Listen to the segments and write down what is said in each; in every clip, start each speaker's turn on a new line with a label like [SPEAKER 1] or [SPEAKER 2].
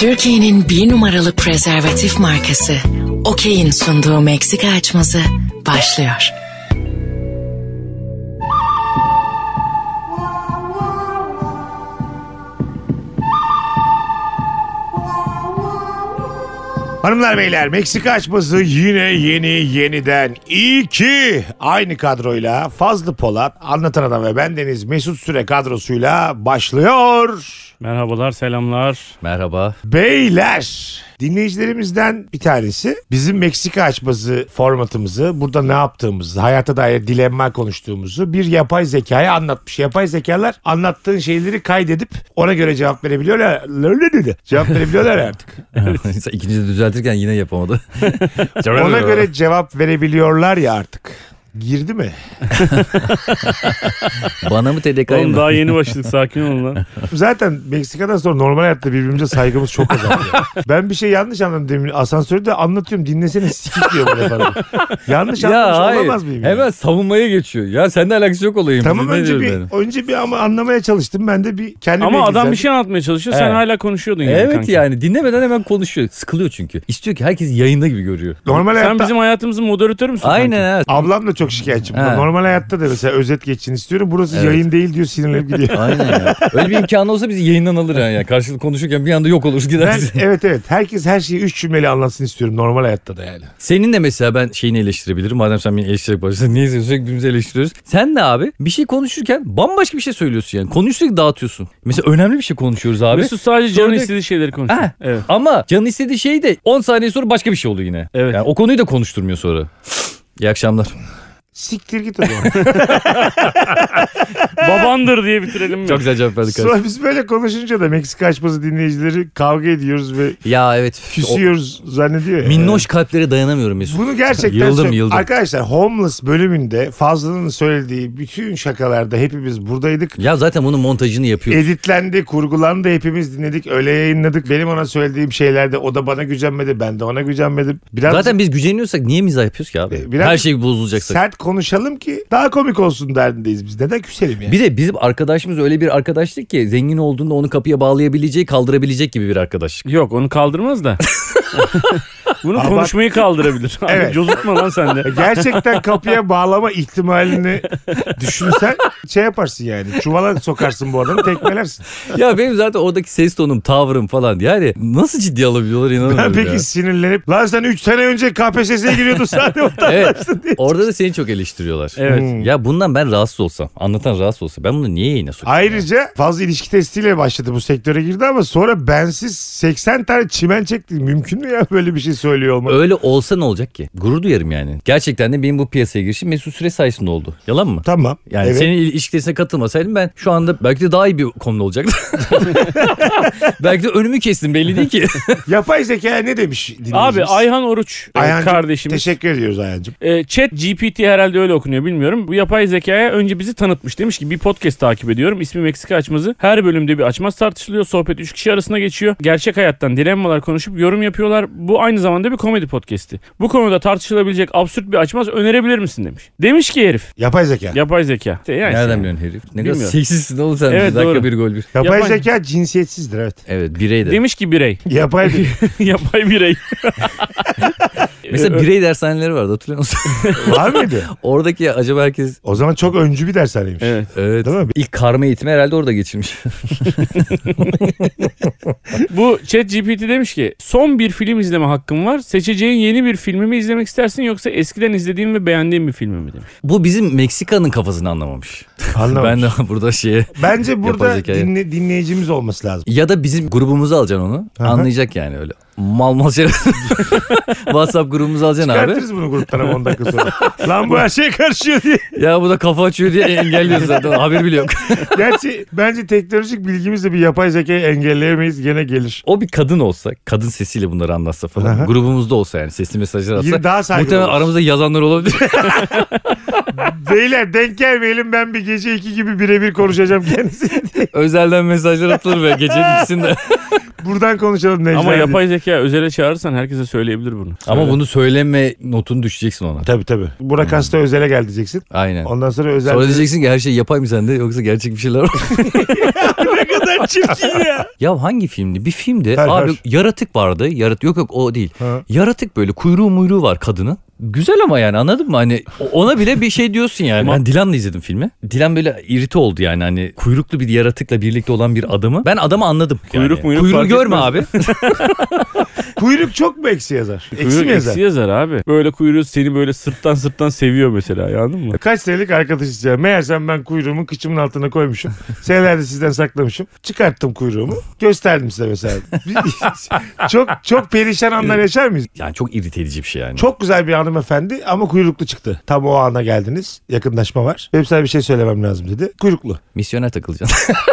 [SPEAKER 1] Türkiye'nin bir numaralı prezervatif markası Okey'in sunduğu Meksika açması başlıyor.
[SPEAKER 2] Hanımlar beyler Meksika açması yine yeni yeniden. İyi ki aynı kadroyla Fazlı Polat, Anlatan Adam ve bendeniz Mesut Süre kadrosuyla başlıyor.
[SPEAKER 3] Merhabalar, selamlar.
[SPEAKER 4] Merhaba.
[SPEAKER 2] Beyler dinleyicilerimizden bir tanesi bizim Meksika açması formatımızı burada ne yaptığımızı hayata dair dilemma konuştuğumuzu bir yapay zekaya anlatmış. Yapay zekalar anlattığın şeyleri kaydedip ona göre cevap verebiliyorlar. Öyle dedi. Cevap verebiliyorlar artık.
[SPEAKER 4] İkinci de düzeltirken yine yapamadı.
[SPEAKER 2] Ona göre cevap verebiliyorlar ya artık. Girdi mi?
[SPEAKER 4] Bana mı TDK'yı
[SPEAKER 3] Oğlum
[SPEAKER 4] mı?
[SPEAKER 3] daha yeni başladık sakin olun lan.
[SPEAKER 2] Zaten Meksika'dan sonra normal hayatta birbirimize saygımız çok azaldı. ben bir şey yanlış anladım demin. Asansörde anlatıyorum dinlesene sikik diyor bana falan. yanlış anlamış
[SPEAKER 4] Ya hayır.
[SPEAKER 2] olamaz mıyım? yani?
[SPEAKER 4] Hemen savunmaya geçiyor. Ya seninle alakası yok olayım.
[SPEAKER 2] Tamam
[SPEAKER 4] Ne
[SPEAKER 2] önce
[SPEAKER 4] diyorum
[SPEAKER 2] bir,
[SPEAKER 4] yani?
[SPEAKER 2] önce bir ama anlamaya çalıştım. Ben de bir kendime
[SPEAKER 3] Ama adam
[SPEAKER 2] güzel-
[SPEAKER 3] bir şey anlatmaya çalışıyor. Sen
[SPEAKER 4] Evet.
[SPEAKER 3] hala konuşuyordun yani
[SPEAKER 4] Evet
[SPEAKER 3] kanka.
[SPEAKER 4] yani dinlemeden hemen konuşuyor. Sıkılıyor çünkü. İstiyor ki herkes yayında gibi görüyor.
[SPEAKER 2] Normal
[SPEAKER 3] Sen
[SPEAKER 2] hayatta
[SPEAKER 3] bizim hayatımızın moderatörü müsün? kanka?
[SPEAKER 4] Aynen evet.
[SPEAKER 2] ablam da çok şikayetçi. bundan.
[SPEAKER 4] He.
[SPEAKER 2] Normal hayatta da mesela özet geçin istiyorum. Burası
[SPEAKER 4] Evet.
[SPEAKER 2] yayın değil diyor sinirlenip gidiyor.
[SPEAKER 4] Aynen ya. Öyle bir imkanı olsa bizi yayından alır yani. yani. Karşılıklı konuşurken bir anda yok oluruz
[SPEAKER 2] Ben,
[SPEAKER 4] gideriz.
[SPEAKER 2] evet evet herkes her şeyi üç cümleyle anlatsın istiyorum normal hayatta da yani.
[SPEAKER 4] Senin de mesela ben şeyini eleştirebilirim. Madem sen beni eleştirerek başladın. Neyse sürekli birbirimizi eleştiriyoruz. Sen de abi bir şey konuşurken bambaşka bir şey söylüyorsun yani. Konuyu sürekli dağıtıyorsun. Mesela önemli bir şey konuşuyoruz abi.
[SPEAKER 3] Mesut sadece canın
[SPEAKER 4] Sonra-
[SPEAKER 3] istediği şeyleri konuşuyor.
[SPEAKER 4] Ha.
[SPEAKER 3] Evet.
[SPEAKER 4] Ama canın istediği şey de 10 saniye sonra başka bir şey oluyor yine.
[SPEAKER 3] Evet.
[SPEAKER 4] Yani o konuyu da konuşturmuyor sonra. İyi akşamlar.
[SPEAKER 2] Siktir git o zaman.
[SPEAKER 3] Babandır diye bitirelim mi?
[SPEAKER 4] Çok güzel cevap verdik.
[SPEAKER 2] Sonra biz böyle konuşunca da Meksika açması dinleyicileri kavga ediyoruz ve
[SPEAKER 4] Ya evet.
[SPEAKER 2] küsüyoruz zannediyor
[SPEAKER 4] O-
[SPEAKER 2] ya.
[SPEAKER 4] minnoş kalplere dayanamıyorum Mesut.
[SPEAKER 2] Bunu gerçekten
[SPEAKER 4] Yıldım,
[SPEAKER 2] söylüyorum.
[SPEAKER 4] yıldım.
[SPEAKER 2] Arkadaşlar Homeless bölümünde Fazlı'nın söylediği bütün şakalarda hepimiz buradaydık.
[SPEAKER 4] Ya zaten bunun montajını yapıyor.
[SPEAKER 2] Editlendi, kurgulandı, hepimiz dinledik, öyle yayınladık. Benim ona söylediğim şeylerde o da bana gücenmedi, ben de ona gücenmedim. Biraz
[SPEAKER 4] Zaten biz güceniyorsak niye mizah yapıyoruz ki abi?
[SPEAKER 2] E, biraz-
[SPEAKER 4] Her şey bozulacaksa.
[SPEAKER 2] sert konuşalım ki daha komik olsun derdindeyiz biz. Neden küselim yani?
[SPEAKER 4] Bir de bizim arkadaşımız öyle bir arkadaşlık ki zengin olduğunda onu kapıya bağlayabileceği, kaldırabilecek gibi bir arkadaşlık.
[SPEAKER 3] Yok onu kaldırmaz da. Bunu
[SPEAKER 2] Ama-
[SPEAKER 3] konuşmayı kaldırabilir. Abi,
[SPEAKER 2] Evet.
[SPEAKER 3] Cozutma lan sen de.
[SPEAKER 2] Gerçekten kapıya bağlama ihtimalini düşünsen şey yaparsın yani. Çuvala sokarsın bu adamı tekmelersin.
[SPEAKER 4] ya benim zaten oradaki ses tonum, tavrım falan yani nasıl ciddi alabiliyorlar
[SPEAKER 2] Ben
[SPEAKER 4] inanamıyorum
[SPEAKER 2] peki
[SPEAKER 4] ya.
[SPEAKER 2] sinirlenip lan sen 3 sene önce KPSS'ye giriyordun sen de
[SPEAKER 4] Evet.
[SPEAKER 2] vatandaşsın diye.
[SPEAKER 4] Orada da seni çok eleştiriyorlar.
[SPEAKER 3] Evet.
[SPEAKER 4] Ya bundan ben rahatsız olsam, anlatan rahatsız olsa ben bunu niye yayına sokayım?
[SPEAKER 2] Ayrıca fazla ilişki testiyle başladı bu sektöre girdi ama sonra bensiz 80 tane çimen çekti. Mümkün mü ya böyle bir şey söylüyor olmak?
[SPEAKER 4] Öyle olsa ne olacak ki? Gurur duyarım yani. Gerçekten de benim bu piyasaya girişim Mesut Süre sayesinde oldu. Yalan mı?
[SPEAKER 2] Tamam.
[SPEAKER 4] Yani
[SPEAKER 2] evet.
[SPEAKER 4] senin il- ilişkilerine katılmasaydım ben şu anda belki de daha iyi bir konuda olacaktım. belki de önümü kestim belli değil ki.
[SPEAKER 2] Yapay zeka ne demiş dinleyicimiz?
[SPEAKER 3] Abi Ayhan Oruç e,
[SPEAKER 2] Ayhancığım,
[SPEAKER 3] kardeşimiz.
[SPEAKER 2] Teşekkür ediyoruz Ayhancığım.
[SPEAKER 3] E, chat GPT herhalde öyle okunuyor bilmiyorum. Bu yapay zekaya önce bizi tanıtmış. Demiş ki bir podcast takip ediyorum. İsmi Meksika Açmazı. Her bölümde bir açmaz tartışılıyor. Sohbet 3 kişi arasında geçiyor. Gerçek hayattan dilemmalar konuşup yorum yapıyorlar. Bu aynı zamanda bir komedi podcasti. Bu konuda tartışılabilecek absürt bir açmaz önerebilir misin demiş. Demiş ki herif.
[SPEAKER 2] Yapay zeka.
[SPEAKER 3] Yapay zeka. İşte yani
[SPEAKER 4] Nereden
[SPEAKER 3] işte.
[SPEAKER 4] biliyorsun herif? Ne
[SPEAKER 3] şey. Bilmiyorum.
[SPEAKER 4] kadar seksistsin oğlum sen.
[SPEAKER 3] Evet,
[SPEAKER 4] bir dakika
[SPEAKER 3] doğru.
[SPEAKER 4] bir gol bir.
[SPEAKER 2] yapay,
[SPEAKER 3] yapay-
[SPEAKER 2] zeka cinsiyetsizdir evet.
[SPEAKER 4] Evet birey de.
[SPEAKER 3] Demiş ki birey.
[SPEAKER 2] Yapay
[SPEAKER 3] yapay birey. Ee,
[SPEAKER 4] Mesela birey dershaneleri vardı hatırlıyor musun?
[SPEAKER 2] var mıydı?
[SPEAKER 4] Oradaki acaba herkes
[SPEAKER 2] O zaman çok öncü bir dershaneymiş.
[SPEAKER 3] Evet.
[SPEAKER 4] evet,
[SPEAKER 2] Değil mi?
[SPEAKER 4] ilk karma eğitimi herhalde orada geçirmiş.
[SPEAKER 3] Bu chat GPT demiş ki son bir film izleme hakkım var. Seçeceğin yeni bir filmi mi izlemek istersin yoksa eskiden izlediğin ve beğendiğin bir filmi mi demiş.
[SPEAKER 4] Bu bizim Meksika'nın kafasını anlamamış.
[SPEAKER 2] Anlamamış.
[SPEAKER 4] Ben de burada şeye
[SPEAKER 2] Bence burada
[SPEAKER 4] Yapay zekayı.
[SPEAKER 2] dinle- dinleyicimiz olması lazım.
[SPEAKER 4] ya da bizim grubumuzu alacaksın onu.
[SPEAKER 2] Aha.
[SPEAKER 4] Anlayacak yani öyle. Mal mal şey. WhatsApp grubumuzu alacaksın abi.
[SPEAKER 2] Çıkartırız bunu gruptan ama 10 dakika sonra. Lan bu her şeye karışıyor diye.
[SPEAKER 4] Ya bu da kafa açıyor diye engelliyoruz zaten. Haber bile yok.
[SPEAKER 2] Gerçi bence teknolojik bilgimizle bir yapay zekayı engelleyemeyiz gene gelir.
[SPEAKER 4] O bir kadın olsa, kadın sesiyle bunları anlatsa falan.
[SPEAKER 2] Aha.
[SPEAKER 4] Grubumuzda olsa yani sesli mesajlar atsa.
[SPEAKER 2] Yine daha saygılı
[SPEAKER 4] muhtemelen
[SPEAKER 2] oluruz.
[SPEAKER 4] aramızda yazanlar olabilir.
[SPEAKER 2] Beyler denk gelmeyelim ben bir gece iki gibi birebir konuşacağım kendisi.
[SPEAKER 4] Özelden mesajlar atılır ve gecenin ikisinde.
[SPEAKER 2] Buradan konuşalım Necla.
[SPEAKER 3] Ama
[SPEAKER 2] diye.
[SPEAKER 3] yapay zeka özele çağırırsan herkese söyleyebilir bunu.
[SPEAKER 4] Ama bunu söyleme notunu düşeceksin ona.
[SPEAKER 2] Tabii tabii. Burak
[SPEAKER 3] Hmm.
[SPEAKER 2] hasta özele gel diyeceksin.
[SPEAKER 4] Aynen.
[SPEAKER 2] Ondan sonra özel...
[SPEAKER 4] Sonra diyeceksin ki her şey yapay mı sende yoksa gerçek bir şeyler var.
[SPEAKER 2] ne kadar
[SPEAKER 3] çirkin ya.
[SPEAKER 4] Ya hangi filmdi? Bir filmde
[SPEAKER 2] Her-
[SPEAKER 4] abi
[SPEAKER 2] her.
[SPEAKER 4] yaratık vardı. Yarat yok yok o değil.
[SPEAKER 2] Ha.
[SPEAKER 4] Yaratık böyle kuyruğu muyruğu var kadının. Güzel ama yani anladın mı? Hani o- ona bile bir şey diyorsun yani. Ben Dilan'la izledim filmi. Dilan böyle irite oldu yani hani kuyruklu bir yaratıkla birlikte olan bir adamı. Ben adamı anladım. yani.
[SPEAKER 3] Kuyruk muyruk
[SPEAKER 4] Kuyruğu
[SPEAKER 3] fark
[SPEAKER 4] görme
[SPEAKER 3] etmez.
[SPEAKER 4] abi.
[SPEAKER 2] Kuyruk çok mu eksi yazar? Eksi
[SPEAKER 3] Kuyruk
[SPEAKER 2] mi yazar?
[SPEAKER 3] eksi yazar abi. Böyle kuyruğu seni böyle sırttan sırttan seviyor mesela anladın mı?
[SPEAKER 2] Kaç senelik arkadaşız ya. Meğersem ben kuyruğumu kıçımın altına koymuşum. Senelerde sizden saklamışım. Çıkarttım kuyruğumu. Gösterdim size mesela. çok çok perişan anlar yaşar mıyız?
[SPEAKER 4] Yani çok irite edici bir şey yani.
[SPEAKER 2] Çok güzel bir hanımefendi ama kuyruklu çıktı. Tam o ana geldiniz. Yakınlaşma var. Benim sana bir şey söylemem lazım dedi. Kuyruklu.
[SPEAKER 4] Misyoner takılacaksın.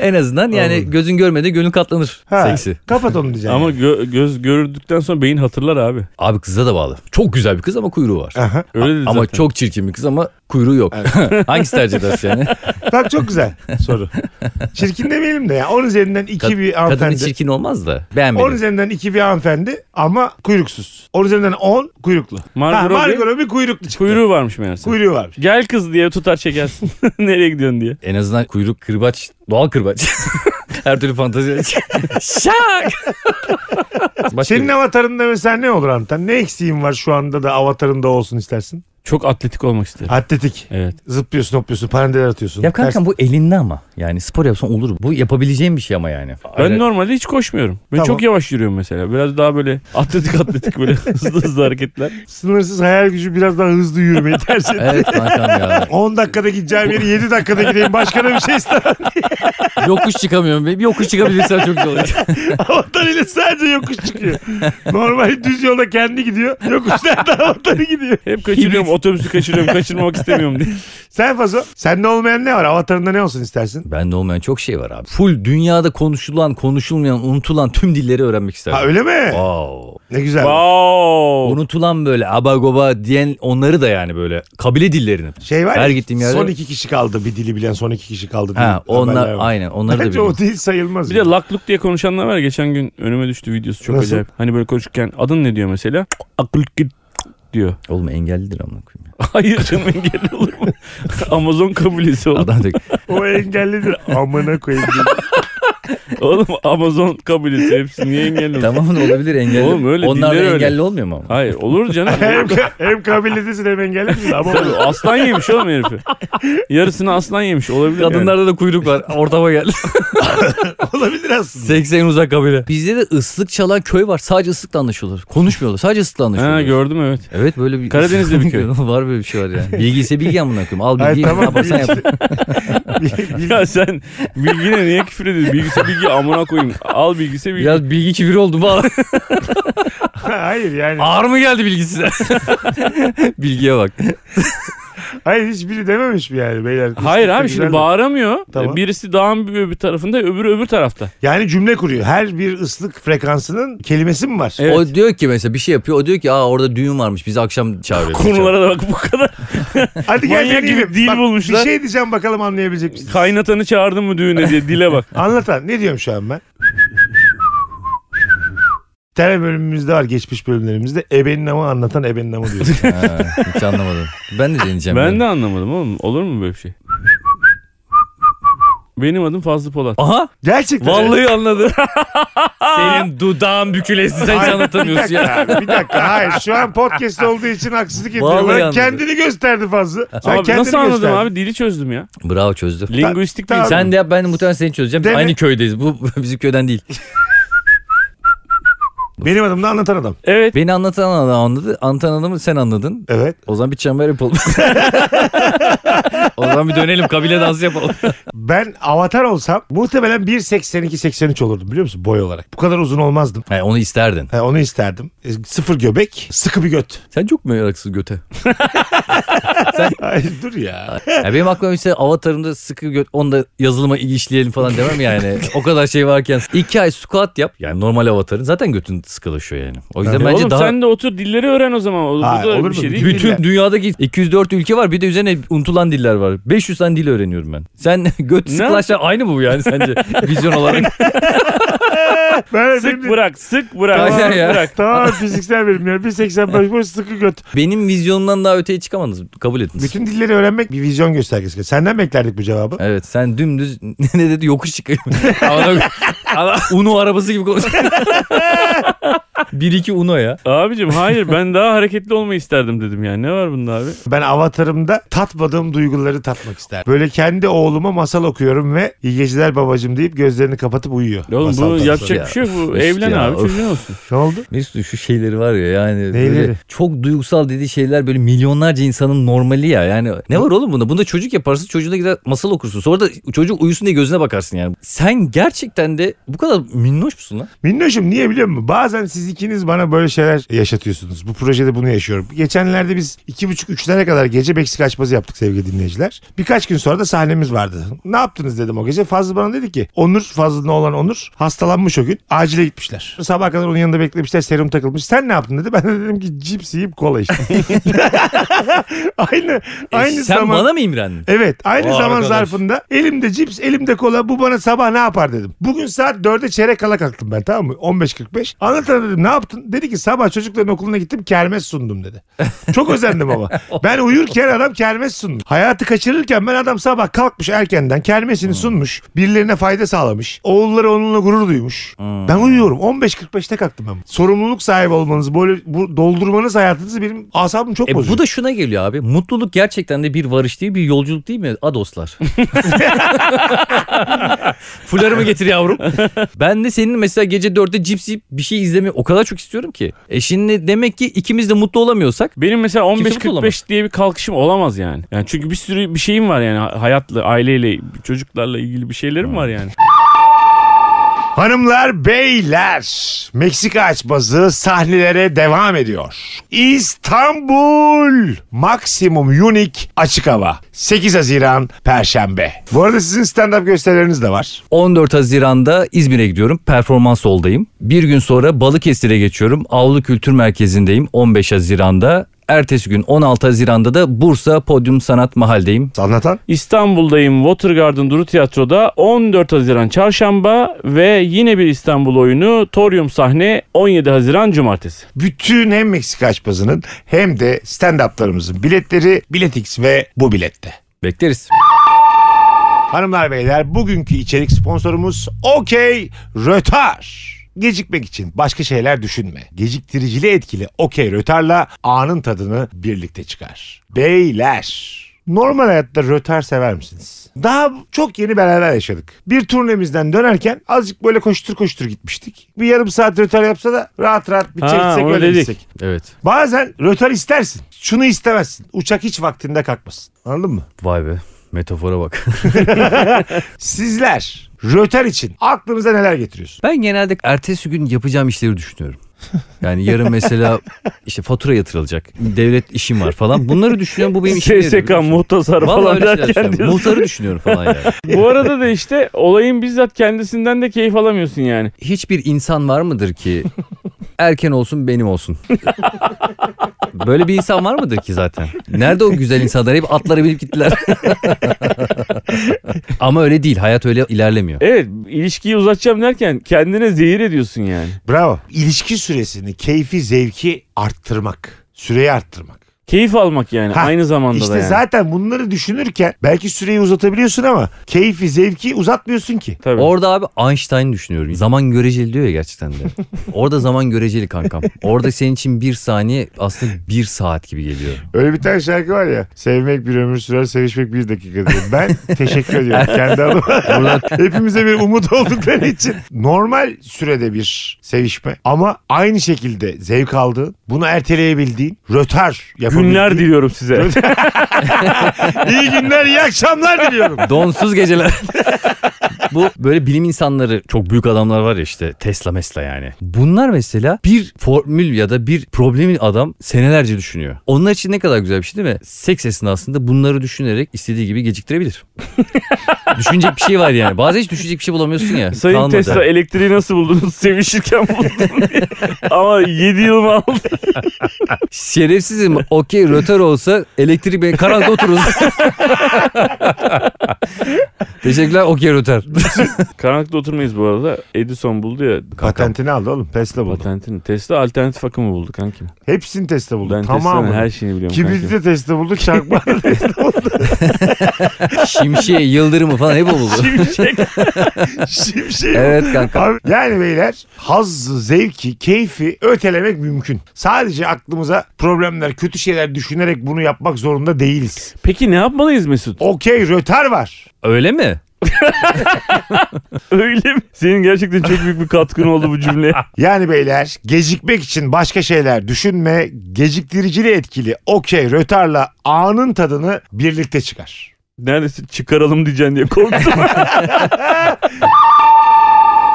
[SPEAKER 4] en azından yani gözün görmedi gönül katlanır seksi.
[SPEAKER 2] Kapat onu diyeceğim.
[SPEAKER 3] Ama gö- göz görürdükten sonra beyin hatırlar abi.
[SPEAKER 4] Abi kıza da bağlı. Çok güzel bir kız ama kuyruğu var.
[SPEAKER 2] Aha.
[SPEAKER 3] Öyle dedi
[SPEAKER 4] Ama
[SPEAKER 3] zaten.
[SPEAKER 4] çok çirkin bir kız ama kuyruğu yok. Hangisi tercih edersin yani?
[SPEAKER 2] Bak çok güzel soru. Çirkin demeyelim de ya. Onun üzerinden iki
[SPEAKER 4] Kad-
[SPEAKER 2] bir
[SPEAKER 4] Kadın hiç
[SPEAKER 2] hanımefendi.
[SPEAKER 4] çirkin olmaz da
[SPEAKER 2] Onun
[SPEAKER 4] beğenmedim.
[SPEAKER 2] üzerinden iki bir hanımefendi ama kuyruksuz. Onun üzerinden on kuyruklu.
[SPEAKER 3] Margot
[SPEAKER 2] Ha,
[SPEAKER 3] Robbie-
[SPEAKER 2] Margot Robbie kuyruklu çıktı.
[SPEAKER 3] Kuyruğu varmış meğerse.
[SPEAKER 2] Kuyruğu var.
[SPEAKER 3] Gel kız diye tutar çekersin. Nereye gidiyorsun diye.
[SPEAKER 4] En azından kuyruk kırbaç, doğal kırbaç. Her türlü fantezi. Şak! Başka
[SPEAKER 2] Senin
[SPEAKER 4] bir-
[SPEAKER 2] avatarında mesela ne olur Antan? Ne eksiğin var şu anda da avatarında olsun istersin?
[SPEAKER 3] Çok atletik olmak isterim.
[SPEAKER 2] Atletik.
[SPEAKER 3] Evet.
[SPEAKER 2] Zıplıyorsun, hopluyorsun, pandeler atıyorsun.
[SPEAKER 4] Ya kankam
[SPEAKER 2] Ters-
[SPEAKER 4] bu elinde ama. Yani spor yapsan olur. Bu yapabileceğim bir şey ama yani.
[SPEAKER 3] Ben
[SPEAKER 4] Öyle-
[SPEAKER 3] normalde hiç koşmuyorum. Ben
[SPEAKER 2] Tamam.
[SPEAKER 3] çok yavaş yürüyorum mesela. Biraz daha böyle atletik atletik böyle hızlı hızlı hareketler.
[SPEAKER 2] Sınırsız hayal gücü biraz daha hızlı yürümeyi tercih et.
[SPEAKER 4] Evet kankam ya.
[SPEAKER 2] 10 dakikada gideceğim yeri 7 dakikada gideyim. Başka da bir şey istemem.
[SPEAKER 4] Yokuş çıkamıyorum. Bir yokuş çıkabilirsem çok güzel olacak.
[SPEAKER 2] Avatar ile sadece yokuş çıkıyor. Normal düz yolda kendi gidiyor. Yokuşlarda avatarı gidiyor.
[SPEAKER 3] Hep kaçırıyorum otobüsü kaçırıyorum kaçırmamak istemiyorum diye.
[SPEAKER 2] Sen Fazo, sende olmayan ne var? Avatarında ne olsun istersin?
[SPEAKER 4] Bende olmayan çok şey var abi. Full dünyada konuşulan, konuşulmayan, unutulan tüm dilleri öğrenmek isterdim.
[SPEAKER 2] Ha öyle mi?
[SPEAKER 4] Wow.
[SPEAKER 2] Ne güzel.
[SPEAKER 3] Wow.
[SPEAKER 4] Unutulan böyle abagoba diyen onları da yani böyle kabile dillerini.
[SPEAKER 2] Şey var ya,
[SPEAKER 4] Her gittiğim yerde-
[SPEAKER 2] son iki kişi kaldı. Bir dili bilen son iki kişi kaldı. diye
[SPEAKER 4] Ha onlar
[SPEAKER 2] haberler var.
[SPEAKER 4] aynen onları da
[SPEAKER 2] Bence
[SPEAKER 4] biliyorum.
[SPEAKER 2] o değil sayılmaz.
[SPEAKER 3] Bir de lakluk diye konuşanlar var. ya, Geçen gün önüme düştü videosu çok
[SPEAKER 2] Nasıl?
[SPEAKER 3] acayip. Hani böyle konuşurken adın ne diyor mesela? Akıl git diyor.
[SPEAKER 4] Oğlum engellidir amına koyayım.
[SPEAKER 3] Hayır canım engel olur mu? Amazon kabilesi oğlum.
[SPEAKER 4] Adam diyor ki,
[SPEAKER 2] O engellidir. Amına koyayım.
[SPEAKER 3] Oğlum Amazon kabilesi hepsi niye engel olur?
[SPEAKER 4] tamam da olabilir engelli.
[SPEAKER 3] Oğlum öyle,
[SPEAKER 4] Onlar da
[SPEAKER 3] dilleri öyle.
[SPEAKER 4] engelli olmuyor mu ama?
[SPEAKER 3] Hayır olur canım.
[SPEAKER 2] hem, hem kabiliyetisin hem engellisin ama
[SPEAKER 3] Tabii, aslan yemiş oğlum herifi. Yarısını aslan yemiş olabilir. yani.
[SPEAKER 4] Kadınlarda da kuyruk var. Ortama geldi.
[SPEAKER 2] olabilir aslında.
[SPEAKER 4] 80 uzak kabile. Bizde de ıslık çalan köy var. Sadece ıslıkla anlaşıyorlar. Konuşmuyorlar. Sadece ıslıkla
[SPEAKER 3] Ha
[SPEAKER 4] anlaşıyorlar.
[SPEAKER 3] gördüm evet.
[SPEAKER 4] Evet böyle bir
[SPEAKER 3] Karadeniz'de bir köy.
[SPEAKER 4] var böyle bir şey var yani. Bilgi ise bilgi amına koyayım. Al
[SPEAKER 2] Ay,
[SPEAKER 4] bilgiyi
[SPEAKER 2] tamam.
[SPEAKER 4] ne yaparsan yap.
[SPEAKER 3] Ya sen bilgine niye küfür ediyorsun? Bilgisi bilgi amına koyayım. Al bilgisi bilgi.
[SPEAKER 4] Biraz bilgi kibir oldu bu.
[SPEAKER 2] Hayır yani.
[SPEAKER 4] Ağır mı geldi bilgi size? Bilgiye bak.
[SPEAKER 2] Hayır hiçbiri dememiş mi yani beyler?
[SPEAKER 3] Hayır
[SPEAKER 2] Üstelik
[SPEAKER 3] abi
[SPEAKER 2] de
[SPEAKER 3] şimdi
[SPEAKER 2] güzel de.
[SPEAKER 3] bağıramıyor. E,
[SPEAKER 2] Tamam.
[SPEAKER 3] Birisi dağın bir, bir tarafında öbürü öbür tarafta.
[SPEAKER 2] Yani cümle kuruyor. Her bir ıslık frekansının kelimesi mi var?
[SPEAKER 3] Evet.
[SPEAKER 4] O diyor ki mesela bir şey yapıyor. O diyor ki aa orada düğün varmış. Bizi akşam çağırıyor.
[SPEAKER 3] Konulara da bak bu kadar.
[SPEAKER 2] Hadi gel
[SPEAKER 3] Manyak gibi
[SPEAKER 2] deneyelim.
[SPEAKER 3] dil
[SPEAKER 2] Bak,
[SPEAKER 3] bulmuşlar.
[SPEAKER 2] Bir şey diyeceğim bakalım anlayabilecek misin?
[SPEAKER 3] Kaynatanı çağırdın mı düğüne diye dile bak.
[SPEAKER 2] Anlatan ne diyorum şu an ben? Tele bölümümüzde var geçmiş bölümlerimizde ebenin ama anlatan ebenin ama diyor.
[SPEAKER 4] Ha, hiç anlamadım. Ben de deneyeceğim.
[SPEAKER 3] Ben
[SPEAKER 4] yani.
[SPEAKER 3] de anlamadım oğlum. Olur mu böyle bir şey? Benim adım Fazlı Polat.
[SPEAKER 4] Aha
[SPEAKER 2] Gerçekten.
[SPEAKER 4] vallahi anladım. Senin dudağın bükülesi sen hiç
[SPEAKER 2] Hayır,
[SPEAKER 4] anlatamıyorsun
[SPEAKER 2] bir dakika,
[SPEAKER 4] ya.
[SPEAKER 2] abi, bir dakika. Hayır şu an podcast olduğu için haksızlık ediyorum.
[SPEAKER 4] Vallahi
[SPEAKER 2] Ben
[SPEAKER 4] anladım.
[SPEAKER 2] kendini gösterdi fazla. Sen
[SPEAKER 3] Abi
[SPEAKER 2] kendini
[SPEAKER 3] nasıl anladım
[SPEAKER 2] gösterdin.
[SPEAKER 3] abi? Dili çözdüm ya.
[SPEAKER 4] Bravo çözdü.
[SPEAKER 3] Linguistik
[SPEAKER 2] tamam.
[SPEAKER 3] değil.
[SPEAKER 4] Sen de yap ben de muhtemelen seni çözeceğim. Biz
[SPEAKER 2] Değil mi?
[SPEAKER 4] Aynı köydeyiz. Bu bizim köyden değil.
[SPEAKER 2] Benim adım da anlatan adam.
[SPEAKER 3] Evet.
[SPEAKER 4] Beni anlatan adam anladı. Anlatan adamı sen anladın.
[SPEAKER 2] Evet.
[SPEAKER 4] O zaman bir çember yapalım. o zaman bir dönelim kabile dansı yapalım.
[SPEAKER 2] Ben avatar olsam muhtemelen 1.82-83 olurdum biliyor musun boy olarak. Bu kadar uzun olmazdım.
[SPEAKER 4] He, onu isterdin.
[SPEAKER 2] He, onu isterdim. E, sıfır göbek, sıkı bir göt.
[SPEAKER 4] Sen çok mu yaraksız göte?
[SPEAKER 2] Ay, dur ya.
[SPEAKER 4] Ya benim aklıma işte avatarımda sıkı göt onu da yazılıma işleyelim falan demem yani. o kadar şey varken iki ay squat yap. Yani normal avatarın zaten götün sıkılaşıyor yani. O yüzden
[SPEAKER 2] Evet.
[SPEAKER 4] bence
[SPEAKER 3] oğlum
[SPEAKER 4] daha...
[SPEAKER 3] sen de otur dilleri öğren o zaman. O,
[SPEAKER 2] Hayır,
[SPEAKER 3] bu da
[SPEAKER 2] olur
[SPEAKER 3] bir
[SPEAKER 2] mu?
[SPEAKER 3] şey değil.
[SPEAKER 4] Bütün
[SPEAKER 2] diller.
[SPEAKER 4] dünyadaki 204 ülke var bir de üzerine unutulan diller var. 500 tane dil öğreniyorum ben. Sen göt sıkılaşan aynı mı bu yani sence vizyon olarak?
[SPEAKER 2] Ben
[SPEAKER 3] sık
[SPEAKER 2] benim-
[SPEAKER 3] bırak, sık bırak,
[SPEAKER 4] Aynen
[SPEAKER 3] sık
[SPEAKER 4] ya.
[SPEAKER 3] bırak.
[SPEAKER 2] Tamam fiziksel benim ya. 1.85 boy sıkı göt.
[SPEAKER 4] Benim vizyonumdan daha öteye çıkamadınız. Kabul ettiniz.
[SPEAKER 2] Bütün dilleri öğrenmek bir vizyon göstergesi. Senden beklerdik bu cevabı.
[SPEAKER 4] Evet sen dümdüz ne dedi yokuş çıkayım. Ana, ana, Uno arabası gibi konuşuyor. 1-2 Uno ya.
[SPEAKER 3] Abicim hayır ben daha hareketli olmayı isterdim dedim yani. Ne var bunda abi?
[SPEAKER 2] Ben avatarımda tatmadığım duyguları tatmak isterdim. Böyle kendi oğluma masal okuyorum ve iyi geceler babacım deyip gözlerini kapatıp uyuyor.
[SPEAKER 3] Ya Oğlum
[SPEAKER 2] Masal
[SPEAKER 3] bu
[SPEAKER 2] tarzı.
[SPEAKER 3] yapacak
[SPEAKER 4] Ya,
[SPEAKER 3] bir şey yok. Bu
[SPEAKER 4] üst
[SPEAKER 3] evlen
[SPEAKER 4] ya,
[SPEAKER 3] abi
[SPEAKER 4] of.
[SPEAKER 3] çocuğun olsun.
[SPEAKER 2] Ne oldu?
[SPEAKER 4] Mesut şu şeyleri var ya yani
[SPEAKER 2] Neyleri?
[SPEAKER 4] böyle çok duygusal dediği şeyler böyle milyonlarca insanın normali ya. Yani ne var oğlum bunda? Bunda çocuk yaparsın çocuğuna gider masal okursun. Sonra da çocuk uyusun diye gözüne bakarsın yani. Sen gerçekten de bu kadar minnoş musun lan?
[SPEAKER 2] Minnoşum niye biliyor musun? Bazen siz ikiniz bana böyle şeyler yaşatıyorsunuz. Bu projede bunu yaşıyorum. Geçenlerde biz iki buçuk üçlere kadar gece Meksika açması yaptık sevgili dinleyiciler. Birkaç gün sonra da sahnemiz vardı. Ne yaptınız dedim o gece. Fazlı bana dedi ki Onur Fazlı'na olan Onur hastalanmış o gün. Acile gitmişler. Sabah kadar onun yanında beklemişler. Serum takılmış. Sen ne yaptın dedi. Ben de dedim ki cips yiyip kola içtim. aynı aynı
[SPEAKER 4] E, sen
[SPEAKER 2] zaman.
[SPEAKER 4] bana mı imrendin?
[SPEAKER 2] Evet aynı
[SPEAKER 4] O
[SPEAKER 2] zaman
[SPEAKER 4] arkadaş.
[SPEAKER 2] zarfında elimde cips elimde kola bu bana sabah ne yapar dedim. Bugün saat 4'e çeyrek kala kalktım ben tamam mı 15.45. Anlatana dedim ne yaptın? Dedi ki sabah çocukların okuluna gittim kermes sundum dedi. Çok özendim ama. Ben uyurken adam kermes sundu. Hayatı kaçırırken ben adam sabah kalkmış erkenden
[SPEAKER 4] Hmm.
[SPEAKER 2] kermesini sunmuş. Birilerine fayda sağlamış. Oğulları onunla gurur duymuş.
[SPEAKER 4] Hmm.
[SPEAKER 2] Ben uyuyorum 15.45'te kalktım ben. Sorumluluk sahibi olmanız böyle bu doldurmanız hayatınızı benim asabım çok
[SPEAKER 4] E,
[SPEAKER 2] bozuyor.
[SPEAKER 4] bu da şuna geliyor abi. Mutluluk gerçekten de bir varış değil bir yolculuk değil mi? A dostlar. Fularımı getir yavrum. Ben de senin mesela gece dörtte cips yiyip bir şey izlemeyi o kadar çok istiyorum ki. E şimdi demek ki ikimiz de mutlu olamıyorsak
[SPEAKER 3] Benim mesela
[SPEAKER 4] mutlu
[SPEAKER 3] 15-45
[SPEAKER 4] olamaz.
[SPEAKER 3] diye bir kalkışım olamaz yani. Yani çünkü bir sürü bir şeyim var yani hayatla, aileyle, çocuklarla ilgili bir şeylerim var yani.
[SPEAKER 2] Hanımlar, beyler, Meksika açmazı sahnelere devam ediyor. İstanbul Maximum Unique Açık Hava 8 Haziran Perşembe. Bu arada sizin stand-up gösterileriniz de var.
[SPEAKER 4] 14 Haziran'da İzmir'e gidiyorum. Performans oldayım. Bir gün sonra Balıkesir'e geçiyorum. Avlu Kültür Merkezi'ndeyim 15 Haziran'da. Ertesi gün 16 Haziran'da da Bursa Podyum Sanat Mahal'deyim.
[SPEAKER 2] Anlatan?
[SPEAKER 3] İstanbul'dayım Watergarden Duru Tiyatro'da 14 Haziran Çarşamba ve yine bir İstanbul oyunu Torium sahne 17 Haziran Cumartesi.
[SPEAKER 2] Bütün hem Meksika açmazının hem de stand-up'larımızın biletleri Biletix ve bu bilette.
[SPEAKER 4] Bekleriz.
[SPEAKER 2] Hanımlar beyler bugünkü içerik sponsorumuz Okey Rötar. Gecikmek için başka şeyler düşünme. Geciktiricili etkili Okey Rötar'la anın tadını birlikte çıkar. Beyler Normal hayatta rötar sever misiniz? Daha çok yeni beraber yaşadık. Bir turnemizden dönerken azıcık böyle koştur koştur gitmiştik. Bir yarım saat rötar yapsa da rahat rahat bir
[SPEAKER 3] Ha,
[SPEAKER 2] çeksek
[SPEAKER 3] onu
[SPEAKER 2] öyle
[SPEAKER 3] dedik.
[SPEAKER 2] gitsek.
[SPEAKER 4] Evet.
[SPEAKER 2] Bazen rötar istersin. Şunu istemezsin. Uçak hiç vaktinde kalkmasın. Anladın mı?
[SPEAKER 4] Vay be. Metafora bak.
[SPEAKER 2] Sizler röter için aklınıza neler getiriyorsun?
[SPEAKER 4] Ben genelde ertesi gün yapacağım işleri düşünüyorum. Yani yarın mesela işte fatura yatırılacak. Devlet işim var falan. Bunları düşünüyorum. Bu benim işim.
[SPEAKER 3] SSK, muhtasar falan derken diyorsun.
[SPEAKER 4] şey Muhtarı düşünüyorum falan yani.
[SPEAKER 3] Bu arada da işte olayın bizzat kendisinden de keyif alamıyorsun yani.
[SPEAKER 4] hiçbir insan var mıdır ki erken olsun benim olsun? Böyle bir insan var mıdır ki zaten? Nerede o güzel insanlar? Hep atlara binip gittiler. Ama öyle değil. Hayat öyle ilerlemiyor.
[SPEAKER 3] Evet ilişkiyi uzatacağım derken kendine zehir ediyorsun yani.
[SPEAKER 2] Bravo. İlişki süresini, keyfi, zevki arttırmak. Süreyi arttırmak.
[SPEAKER 3] Keyif almak yani
[SPEAKER 2] Ha,
[SPEAKER 3] aynı zamanda
[SPEAKER 2] İşte
[SPEAKER 3] da yani.
[SPEAKER 2] zaten bunları düşünürken belki süreyi uzatabiliyorsun ama keyfi, zevki uzatmıyorsun ki.
[SPEAKER 3] Tabii.
[SPEAKER 4] Orada abi Einstein düşünüyorum. Zaman göreceli diyor ya gerçekten de. Orada zaman göreceli kankam. Orada senin için bir saniye aslında bir saat gibi geliyor.
[SPEAKER 2] Öyle bir tane şarkı var ya. Sevmek bir ömür sürer, sevişmek bir dakika diyor. Ben teşekkür ediyorum kendi adıma. Buradan Hepimize bir umut oldukları için. Normal sürede bir sevişme ama aynı şekilde zevk aldığın, bunu erteleyebildiğin, rötar yapabildiğin.
[SPEAKER 3] Günler diliyorum size.
[SPEAKER 2] İyi günler, iyi akşamlar diliyorum.
[SPEAKER 4] Donsuz geceler. Bu böyle bilim insanları çok büyük adamlar var ya işte Tesla mesela yani. Bunlar mesela bir formül ya da bir problemi adam senelerce düşünüyor. Onlar için ne kadar güzel bir şey değil mi? Seks esnasında bunları düşünerek istediği gibi geciktirebilir. Düşünecek bir şey var yani. Bazen hiç düşünecek bir şey bulamıyorsun ya.
[SPEAKER 3] Sayın
[SPEAKER 4] Kalmadı.
[SPEAKER 3] Tesla elektriği nasıl buldunuz? Sevişirken buldum diye. Ama 7 yıl mı aldı?
[SPEAKER 4] Şerefsizim okey rötar olsa elektrik ben karanlıkta otururuz. Teşekkürler okey rötar.
[SPEAKER 3] Karanlıkta oturmayız bu arada. Edison buldu ya.
[SPEAKER 2] Patentini aldı oğlum. Tesla buldu.
[SPEAKER 3] Patentini. Tesla alternatif akımı buldu kankim.
[SPEAKER 2] Hepsini Tesla buldu.
[SPEAKER 3] Ben
[SPEAKER 2] Tamamını.
[SPEAKER 3] Tesla'nın her şeyini biliyorum
[SPEAKER 2] Kibriti
[SPEAKER 3] kankim.
[SPEAKER 2] de Tesla buldu. Çakma da Tesla buldu.
[SPEAKER 4] Şimşeği, yıldırımı falan hep o buldu.
[SPEAKER 3] Şimşek.
[SPEAKER 2] şey- Şimşek.
[SPEAKER 4] evet kanka.
[SPEAKER 2] Abi, yani beyler hazzı, zevki, keyfi ötelemek mümkün. Sadece aklımıza problemler, kötü şeyler düşünerek bunu yapmak zorunda değiliz.
[SPEAKER 3] Peki ne yapmalıyız Mesut?
[SPEAKER 2] Okey röter var.
[SPEAKER 4] Öyle mi?
[SPEAKER 3] Öyle mi? Senin gerçekten çok büyük bir katkın oldu bu cümleye.
[SPEAKER 2] Yani beyler gecikmek için başka şeyler düşünme, geciktiricili etkili okey rötarla anın tadını birlikte çıkar.
[SPEAKER 3] Neredeyse çıkaralım diyeceksin diye korktum.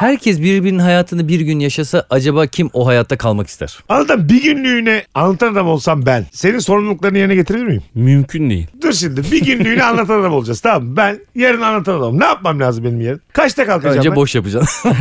[SPEAKER 4] Herkes birbirinin hayatını bir gün yaşasa acaba kim o hayatta kalmak ister?
[SPEAKER 2] Anlatan bir günlüğüne anlatan adam olsam ben senin sorumluluklarını yerine getirir miyim?
[SPEAKER 3] Mümkün değil.
[SPEAKER 2] Dur şimdi bir günlüğüne anlatan adam olacağız tamam mı? Ben yarın anlatan adamım. Ne yapmam lazım benim yarın? Kaçta kalkacağım
[SPEAKER 4] Önce
[SPEAKER 2] ben?
[SPEAKER 4] boş yapacaksın.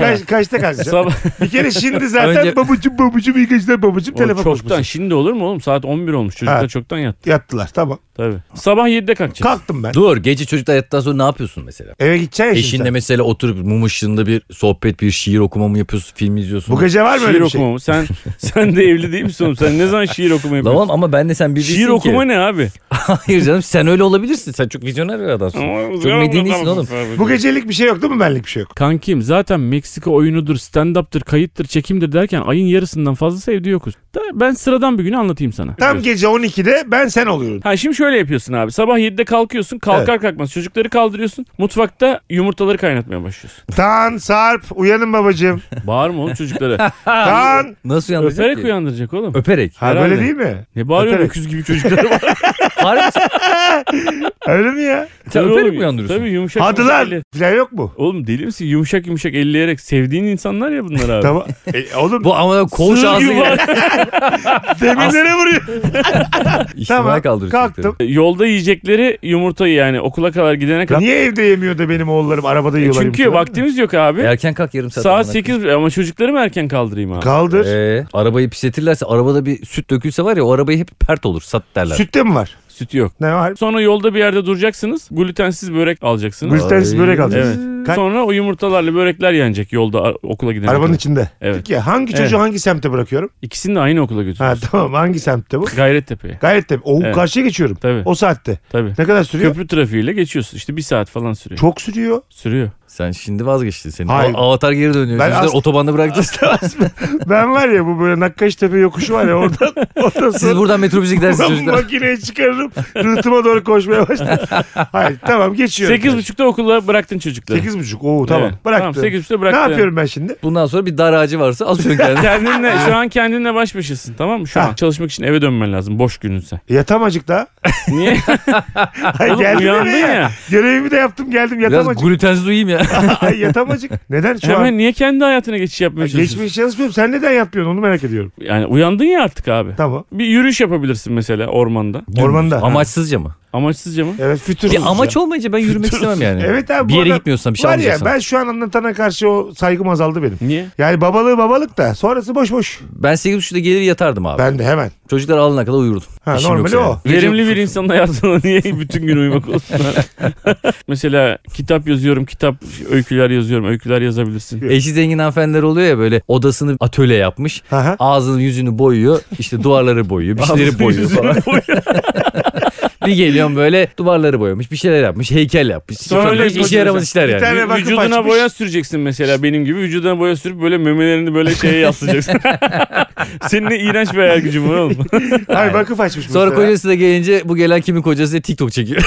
[SPEAKER 2] Kaç, kaçta kalkacağım?
[SPEAKER 3] Sabah
[SPEAKER 2] bir kere şimdi zaten
[SPEAKER 4] Önce-
[SPEAKER 2] babacım babacım iyi geceler babacım
[SPEAKER 3] Oğlum
[SPEAKER 2] telefon
[SPEAKER 3] çoktan
[SPEAKER 2] konuşması.
[SPEAKER 3] şimdi olur mu oğlum? Saat 11 olmuş. Çocuklar
[SPEAKER 2] Ha.
[SPEAKER 3] çoktan yattı.
[SPEAKER 2] Yattılar tamam.
[SPEAKER 3] Tabii. Sabah 7'de kalkacağız.
[SPEAKER 2] Kalktım ben.
[SPEAKER 4] Dur gece çocuklar yattıktan sonra ne yapıyorsun mesela?
[SPEAKER 2] Eve gideceksin ya şimdi
[SPEAKER 4] Eşinle
[SPEAKER 2] sen.
[SPEAKER 4] mesela oturup mum ışığında bir sohbet, bir şiir okuma mı yapıyorsun, film izliyorsun?
[SPEAKER 2] Bu gece var mı
[SPEAKER 3] şiir
[SPEAKER 2] öyle bir şey?
[SPEAKER 3] okumamı. Sen sen de evli değil misin oğlum? Sen ne zaman şiir okuma yapıyorsun?
[SPEAKER 4] Tamam ama ben de sen bir
[SPEAKER 3] şiir
[SPEAKER 4] değilsin
[SPEAKER 3] okuma
[SPEAKER 4] ki.
[SPEAKER 3] ne abi?
[SPEAKER 4] Hayır canım sen öyle olabilirsin. Sen çok vizyoner bir adamsın. çok medenisin oğlum.
[SPEAKER 2] Bu gecelik bir şey yok değil mi benlik bir şey yok?
[SPEAKER 3] Kankim zaten Meksika oyunudur, stand-up'tır, kayıttır, çekimdir derken ayın yarısından fazlası evde yokuz. Da ben sıradan bir günü anlatayım sana.
[SPEAKER 2] Tam gece 12'de ben sen oluyorum.
[SPEAKER 3] Ha şimdi şöyle yapıyorsun abi. Sabah 7'de kalkıyorsun. Kalkar kalkmaz çocukları kaldırıyorsun. Mutfakta yumurtaları kaynatmaya başlıyorsun.
[SPEAKER 2] Tan, Sarp uyanın babacığım.
[SPEAKER 3] Bağırma oğlum çocuklara.
[SPEAKER 2] Tan.
[SPEAKER 4] Nasıl uyandıracak
[SPEAKER 3] Öperek
[SPEAKER 4] ki?
[SPEAKER 3] uyandıracak oğlum.
[SPEAKER 4] Öperek.
[SPEAKER 2] Ha
[SPEAKER 3] Herhalde.
[SPEAKER 2] böyle değil mi?
[SPEAKER 3] Ne bağırıyorsun
[SPEAKER 2] Öperek.
[SPEAKER 3] öküz gibi çocuklara?
[SPEAKER 4] Harbi sen-
[SPEAKER 2] Öyle mi ya?
[SPEAKER 4] sen
[SPEAKER 3] Tabii
[SPEAKER 4] öperek
[SPEAKER 3] oğlum,
[SPEAKER 4] mi uyandırıyorsun?
[SPEAKER 3] Tabii yumuşak.
[SPEAKER 2] Hadi
[SPEAKER 3] yumuşak
[SPEAKER 2] lan.
[SPEAKER 3] elle-
[SPEAKER 2] Falan yok mu?
[SPEAKER 3] Oğlum deli misin? Yumuşak yumuşak elleyerek sevdiğin insanlar ya bunlar abi.
[SPEAKER 2] Tamam. E, oğlum
[SPEAKER 4] Bu ama kol
[SPEAKER 3] Sığır
[SPEAKER 4] şansı
[SPEAKER 3] gibi
[SPEAKER 4] gibi.
[SPEAKER 3] var.
[SPEAKER 2] demirlere vuruyor.
[SPEAKER 4] İçtimai
[SPEAKER 2] tamam
[SPEAKER 4] kaldırıyorsun.
[SPEAKER 2] kalktım.
[SPEAKER 3] Yolda yiyecekleri yumurtayı yani okula kadar gidene kadar.
[SPEAKER 2] Niye evde yemiyor da benim oğullarım arabada yiyorlar?
[SPEAKER 3] E, Çünkü
[SPEAKER 2] yumurtaları?
[SPEAKER 3] vaktimiz yok abi.
[SPEAKER 4] Erken kalk yarım saat.
[SPEAKER 3] Saat
[SPEAKER 4] amına
[SPEAKER 3] 8 ama çocukları mı erken kaldırayım abi?
[SPEAKER 2] Kaldır.
[SPEAKER 4] Ee, arabayı pisletirlerse arabada bir süt dökülse var ya o arabayı hep pert olur sat derler.
[SPEAKER 2] Sütte mi var?
[SPEAKER 3] Süt yok.
[SPEAKER 2] Ne var?
[SPEAKER 3] Sonra yolda bir yerde duracaksınız. Glutensiz börek alacaksınız.
[SPEAKER 2] Glutensiz
[SPEAKER 4] Ay.
[SPEAKER 2] börek alacağız.
[SPEAKER 3] Evet.
[SPEAKER 2] Kaç-
[SPEAKER 3] Sonra o yumurtalarla börekler yenecek yolda a- okula gidene
[SPEAKER 2] Arabanın
[SPEAKER 3] kadar.
[SPEAKER 2] içinde.
[SPEAKER 3] Evet.
[SPEAKER 2] Peki ya, hangi çocuğu hangi semte bırakıyorum?
[SPEAKER 3] İkisini de aynı okula götürüyoruz.
[SPEAKER 2] Ha tamam hangi semtte bu?
[SPEAKER 3] Gayrettepe'ye.
[SPEAKER 2] Gayet tabii. O
[SPEAKER 3] Evet.
[SPEAKER 2] karşıya geçiyorum.
[SPEAKER 3] Tabii.
[SPEAKER 2] O saatte.
[SPEAKER 3] Tabii.
[SPEAKER 2] Ne kadar sürüyor?
[SPEAKER 3] Köprü trafiğiyle geçiyorsun. İşte bir saat falan sürüyor.
[SPEAKER 2] Çok sürüyor.
[SPEAKER 3] Sürüyor.
[SPEAKER 4] Sen şimdi vazgeçtin seni.
[SPEAKER 2] Hayır.
[SPEAKER 4] A- Avatar geri dönüyor.
[SPEAKER 2] Ben
[SPEAKER 4] Yüzler
[SPEAKER 2] as-
[SPEAKER 4] otobanda bırakacağız.
[SPEAKER 2] Ben var ya bu böyle Nakkaştepe yokuşu var ya oradan. oradan
[SPEAKER 4] Siz
[SPEAKER 2] sonra
[SPEAKER 4] buradan metrobüse gidersiniz
[SPEAKER 2] ben bu
[SPEAKER 4] çocuklar.
[SPEAKER 2] makineyi çıkarırım. Rıhtıma doğru koşmaya başlarım. Hayır tamam geçiyorum.
[SPEAKER 3] Sekiz buçukta okula bıraktın çocukları.
[SPEAKER 2] 8 buçuk. Oo tamam.
[SPEAKER 3] Evet.
[SPEAKER 2] Bıraktım.
[SPEAKER 3] Tamam, sekiz buçukta
[SPEAKER 2] ne
[SPEAKER 3] bıraktın.
[SPEAKER 2] yapıyorum ben şimdi?
[SPEAKER 4] Bundan sonra bir dar ağacı varsa asıyorsun kendini.
[SPEAKER 3] Kendinle, şu an kendinle baş başasın tamam mı? Şu an
[SPEAKER 2] Ha.
[SPEAKER 3] çalışmak için eve dönmen lazım boş gününse.
[SPEAKER 2] Yatam acıkta.
[SPEAKER 3] Niye?
[SPEAKER 2] Hayır
[SPEAKER 3] Oğlum,
[SPEAKER 2] geldim
[SPEAKER 3] uyandın
[SPEAKER 2] eve ya.
[SPEAKER 3] ya.
[SPEAKER 2] Görevimi de yaptım geldim yatam
[SPEAKER 4] Biraz
[SPEAKER 2] acık.
[SPEAKER 4] glutensiz uyuyayım ya.
[SPEAKER 2] Ay, yatam acık. Neden şu
[SPEAKER 3] Hemen
[SPEAKER 2] an?
[SPEAKER 3] niye kendi hayatına geçiş yapmaya çalışıyorsun?
[SPEAKER 2] Geçmiş çalışmıyorum. Sen neden yapmıyorsun onu merak ediyorum.
[SPEAKER 3] Yani uyandın ya artık abi.
[SPEAKER 2] Tamam.
[SPEAKER 3] Bir yürüyüş yapabilirsin mesela ormanda.
[SPEAKER 2] Ormanda.
[SPEAKER 4] Amaçsızca mı?
[SPEAKER 3] Amaçsızca mı?
[SPEAKER 2] Evet fütursuz.
[SPEAKER 4] Bir amaç olmayınca ben yürümek istemem yani.
[SPEAKER 2] Evet abi,
[SPEAKER 4] Bir
[SPEAKER 2] bu
[SPEAKER 4] yere
[SPEAKER 2] adam-
[SPEAKER 4] gitmiyorsan bir şey
[SPEAKER 2] Var ya
[SPEAKER 4] almayacaksan. Ben...
[SPEAKER 2] ben şu an anlatana karşı o saygım azaldı benim.
[SPEAKER 3] Niye?
[SPEAKER 2] Yani babalığı babalık da sonrası boş boş.
[SPEAKER 4] 8.30'da gelir yatardım abi.
[SPEAKER 2] Ben de hemen.
[SPEAKER 4] Çocuklar alana kadar uyurdum.
[SPEAKER 2] Ha,
[SPEAKER 4] İşim
[SPEAKER 2] normali
[SPEAKER 4] yoksa
[SPEAKER 2] o.
[SPEAKER 4] yani. Gece-
[SPEAKER 3] Verimli bir insanın hayatına niye bütün gün uyumak olsun? Mesela kitap yazıyorum, kitap öyküler yazıyorum, öyküler yazabilirsin.
[SPEAKER 4] Eşi zengin hanımefendiler oluyor ya böyle odasını atölye yapmış.
[SPEAKER 2] Aha.
[SPEAKER 4] Ağzını yüzünü boyuyor. işte duvarları boyuyor. Bir şeyleri boyuyor falan. bir geliyorum böyle duvarları boyamış. Bir şeyler yapmış. Heykel yapmış.
[SPEAKER 3] Sonra
[SPEAKER 4] Sonra
[SPEAKER 3] öyle
[SPEAKER 4] hiç işe yaramaz işler
[SPEAKER 2] Bir
[SPEAKER 4] yani.
[SPEAKER 2] tane bakıp
[SPEAKER 3] Vücuduna
[SPEAKER 2] açmış.
[SPEAKER 3] boya süreceksin mesela benim gibi. Vücuduna boya sürüp böyle memelerini böyle şeye yaslayacaksın. Senin ne iğrenç bir hayal gücün var oğlum.
[SPEAKER 2] Hayır vakıf açmış.
[SPEAKER 4] Sonra
[SPEAKER 2] mesela.
[SPEAKER 4] kocası da gelince bu gelen kimin kocası diye TikTok çekiyor.